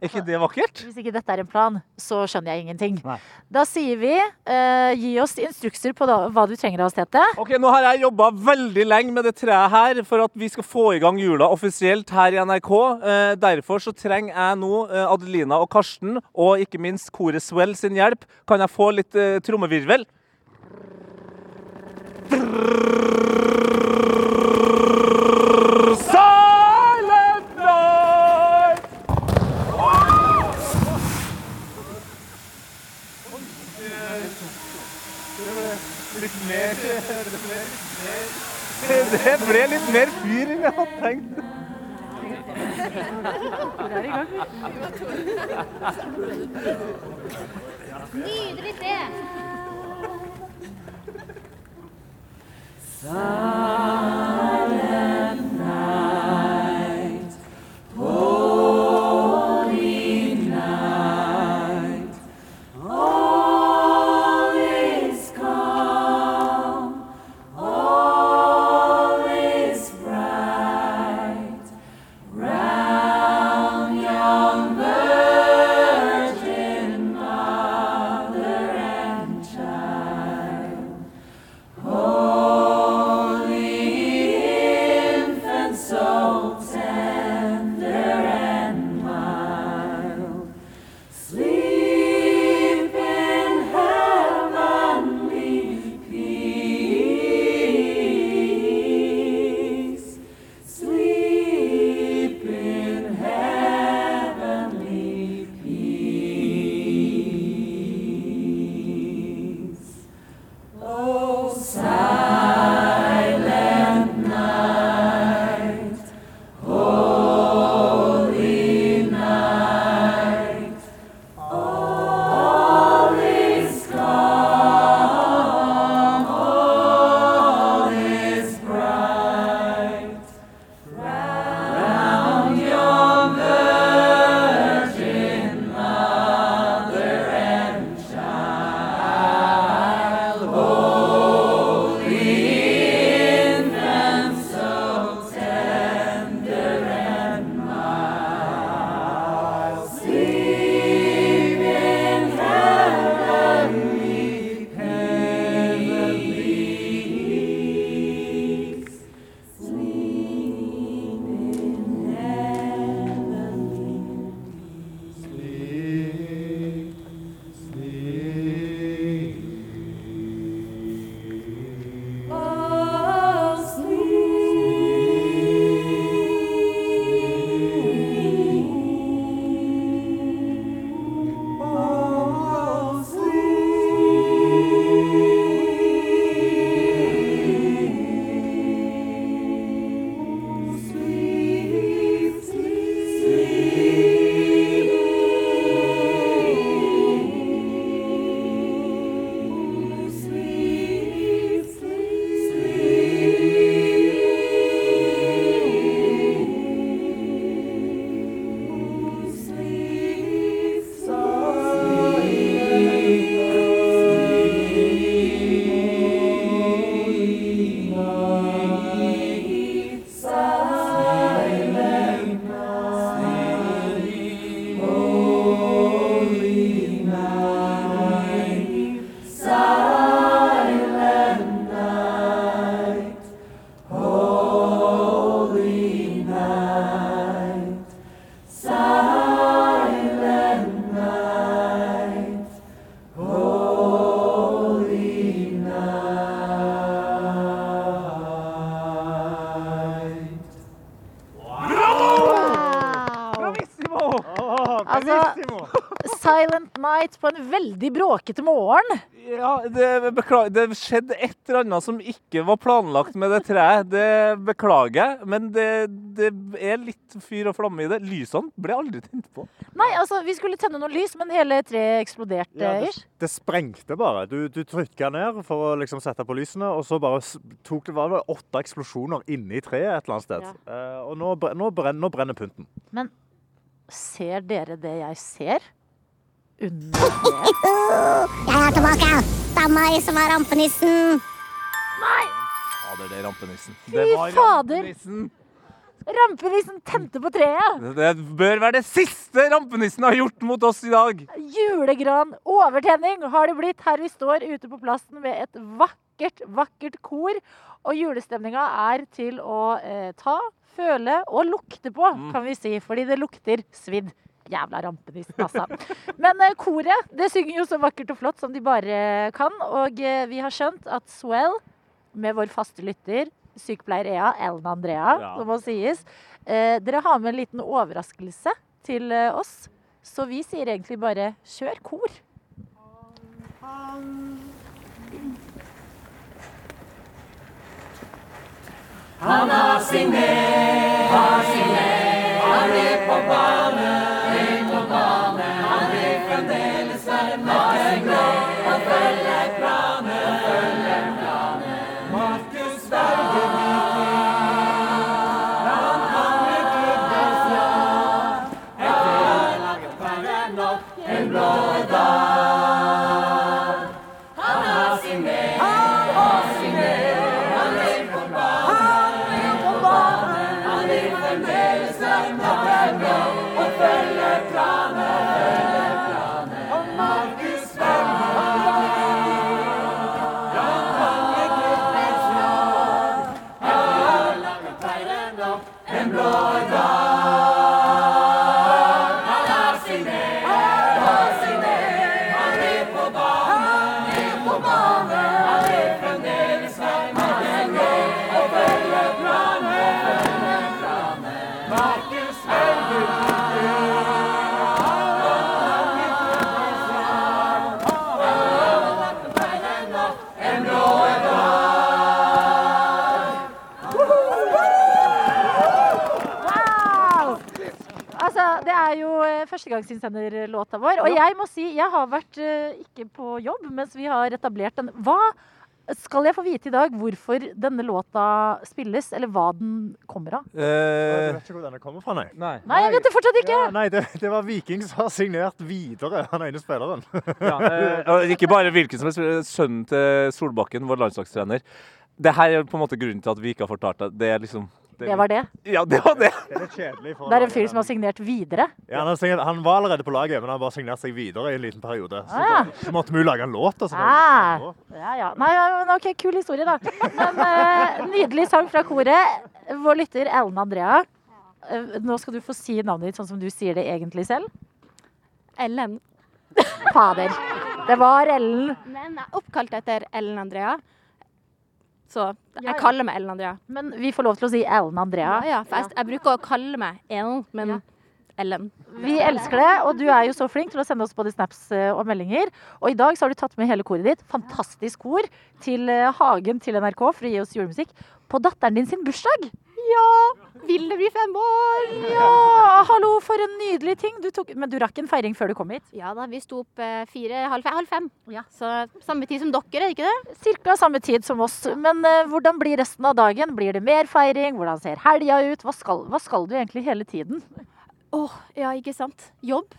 Speaker 4: Er ikke det vakkert?
Speaker 3: Hvis ikke dette er en plan, så skjønner jeg ingenting. Da sier vi eh, gi oss instrukser på da, hva du trenger av oss, Tete.
Speaker 4: Ok, Nå har jeg jobba veldig lenge med det treet her for at vi skal få i gang jula offisielt her i NRK. Eh, Derfor så trenger jeg nå eh, Adelina og Karsten, og ikke minst koret Swell sin hjelp. Kan jeg få litt eh, trommevirvel? Silent night! Det ble litt mer fyr enn jeg hadde tenkt.
Speaker 12: Nydelig sted.
Speaker 7: Silent night, holy
Speaker 3: Altså, Silent Night på en veldig bråkete morgen.
Speaker 4: Ja, det, beklager, det skjedde et eller annet som ikke var planlagt med det treet. Det beklager jeg, men det, det er litt fyr og flamme i det. Lysene ble aldri tent på.
Speaker 3: Nei, altså, vi skulle tenne noen lys, men hele treet eksploderte.
Speaker 5: Ja, det,
Speaker 3: ish.
Speaker 5: det sprengte bare. Du, du trykka ned for å liksom sette på lysene, og så bare s- tok det, var det åtte eksplosjoner inni treet et eller annet sted. Eh, og nå, bre- nå, brenner, nå brenner pynten.
Speaker 3: Men ser dere det jeg ser? Under treet?
Speaker 12: Jeg er tilbake! Det er meg som er rampenissen!
Speaker 4: Fader, det er rampenissen.
Speaker 3: Fy fader! Rampenissen liksom tente på treet!
Speaker 4: Det, det bør være det siste rampenissen har gjort mot oss i dag.
Speaker 3: Julegran, overtenning har det blitt her vi står ute på plassen med et vakkert, vakkert kor. Og julestemninga er til å eh, ta, føle og lukte på, kan vi si. Fordi det lukter svidd. Jævla rampenissen, altså. Men eh, koret det synger jo så vakkert og flott som de bare kan. Og eh, vi har skjønt at Swell, med vår faste lytter, sykepleier Ea, Ellen Andrea,
Speaker 14: Ja.
Speaker 3: som må sies, eh, dere har med en liten overraskelse til eh, oss. Så vi sier egentlig bare kjør kor.
Speaker 14: Han har sin del, har sin del. Han er på bane, er på bane. Han vil fremdeles være markedsglad. Han følger planen, han følger planen. Markus Bergevik. Han handler klubben fra. Etter han lager verre nok en blå dag. Han har sin del, han har sin del. Han er på banen, han er på banen. Han vil fremdeles være Matemblå og følge planen. Følge planen. Og Markus Bergman. Han hang et guttens lag. Her vil han lage feiren opp en blå dag. Han har sin del, han har sin del. Han er på banen, er på banen. Han vil fremdeles være Matemblå og følge planen. Følge planen. Markus
Speaker 3: Wow! Altså, det er jo eh, førstegangsinnsenderlåta vår. Og
Speaker 14: Ja.
Speaker 3: jeg må si, jeg har vært eh, ikke på jobb mens vi har etablert den. Hva skal jeg få vite i dag hvorfor denne låta spilles, eller hva den kommer av?
Speaker 5: Jeg vet ikke hvor denne kommer fra, nei.
Speaker 4: Eh, Nei,
Speaker 3: Nei, jeg vet det fortsatt ikke!
Speaker 5: nei det, det var Viking som har signert videre, han ene spilleren.
Speaker 4: Eh, og ikke bare hvilken som helst. Sønnen til Solbakken, vår landslagstrener. Det her er på en måte grunnen til at vi ikke har fortalt deg. Det er liksom
Speaker 3: Det var det.
Speaker 4: Ja, det var det.
Speaker 5: Det er litt kjedelig for
Speaker 3: Det er en fyr som har signert videre.
Speaker 5: ja, han, har signert, han var allerede på laget, men han har bare signert seg videre i en liten periode. Så,
Speaker 3: Ah.
Speaker 5: da- så måtte vi jo lage en låt. Altså,
Speaker 3: Ah, ja, ja. Nei, ja, men OK, kul historie, da. Men eh, nydelig sang fra koret. Vår lytter Ellen Andrea. eh, nå skal du få si navnet ditt sånn som du sier det egentlig selv.
Speaker 15: Ellen.
Speaker 3: Fader. Det var Ellen.
Speaker 15: Men jeg er oppkalt etter Ellen Andrea. Så
Speaker 3: Ja, ja.
Speaker 15: jeg kaller meg Ellen Andrea.
Speaker 3: Eh, Men vi får lov til å si Ellen Andrea.
Speaker 15: Ja, ja, for jeg, jeg bruker å kalle meg Ellen, men Ellen.
Speaker 3: Vi elsker det, og du er jo så flink til å sende oss både snaps eh, og meldinger. Og i dag så har du tatt med hele koret ditt, fantastisk kor, til eh, Hagen til NRK for å gi oss julemusikk på datteren din sin bursdag.
Speaker 15: Ja! Ville bli fem år!
Speaker 3: Ja, hallo, for en nydelig ting. Du tok, men du rakk en feiring før du kom hit?
Speaker 15: Ja da, vi sto opp eh, fire, halv fem. Halv fem. Så samme tid som dere, ikke det?
Speaker 3: Cirka samme tid som oss. Men eh, hvordan blir resten av dagen? Blir det mer feiring? Hvordan ser helga ut? Hva skal, hva skal du egentlig hele tiden?
Speaker 15: Åh, ja, ikke sant. Jobb.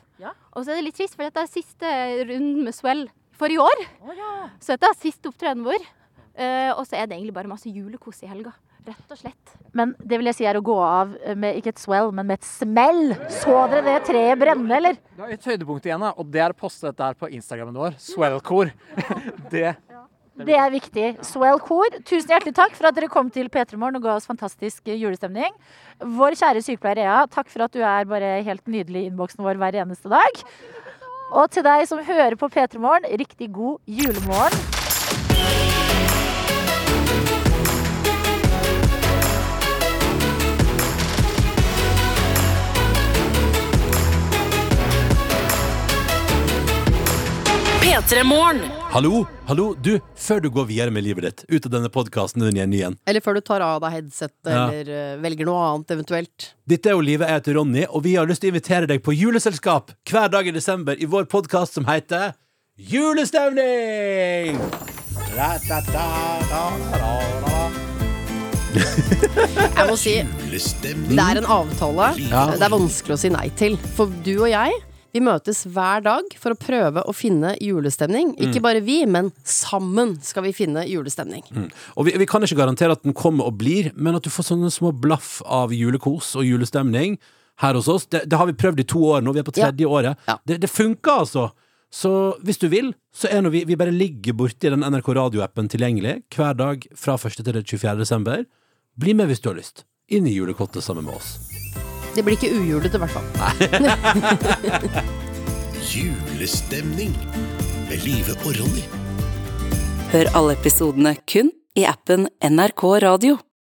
Speaker 15: Og så er det litt trist, for dette er siste runden med Swell for i år. Så dette er siste opptreden vår. Eh, og så er det egentlig bare masse julekos i helga. Rett og slett.
Speaker 3: Men det vil jeg si er å gå av eh, med ikke et swell, men med et smell. Så dere det treet brenne, eller?
Speaker 16: Det er et høydepunkt igjen, da, og det er å poste dette her på Instagrammen vår. Swellcore. Det
Speaker 3: Det er viktig. Swell Kor, tusen hjertelig takk for at dere kom til P3 Morgen og ga oss fantastisk eh, julestemning. Vår kjære sykepleier Ea, takk for at du er bare helt nydelig i innboksen vår hver eneste dag. Og til deg som hører på P3 Morgen, riktig god julemorgen.
Speaker 2: P3-morgen.
Speaker 17: Hallo, hallo, du, før du går videre med livet ditt, ut av denne podkasten din igjen, igjen.
Speaker 18: Eller før du tar av deg headsetet
Speaker 17: Ja.
Speaker 18: eller eh, velger noe annet eventuelt.
Speaker 17: Dette er jo livet, jeg heter Ronny, og vi har lyst til å invitere deg på juleselskap hver dag i desember i vår podkast som heter Julestemning!
Speaker 18: Jeg må si,
Speaker 17: Julestemning?
Speaker 18: det er en avtale
Speaker 17: Ja.
Speaker 18: det er vanskelig å si nei til. For du og jeg, vi møtes hver dag for å prøve å finne julestemning.
Speaker 17: Mm.
Speaker 18: Ikke bare vi, men sammen skal vi finne julestemning.
Speaker 17: Mm. Og vi, vi kan ikke garantere at den kommer og blir, men at du får sånne små blaff av julekos og julestemning her hos oss. Det, det har vi prøvd i to år nå, vi er på tredje året. Det, det funker altså! Så hvis du vil, så er nå vi, vi bare ligger borti den NRK radioappen tilgjengelig hver dag fra 1. til 24. desember. Bli med hvis du har lyst. Inn i julekottet sammen med oss.
Speaker 18: Det blir ikke ujulete, i hvert fall.
Speaker 19: Julestemning med Live og Ronny.
Speaker 20: Hør alle episodene kun i appen NRK Radio.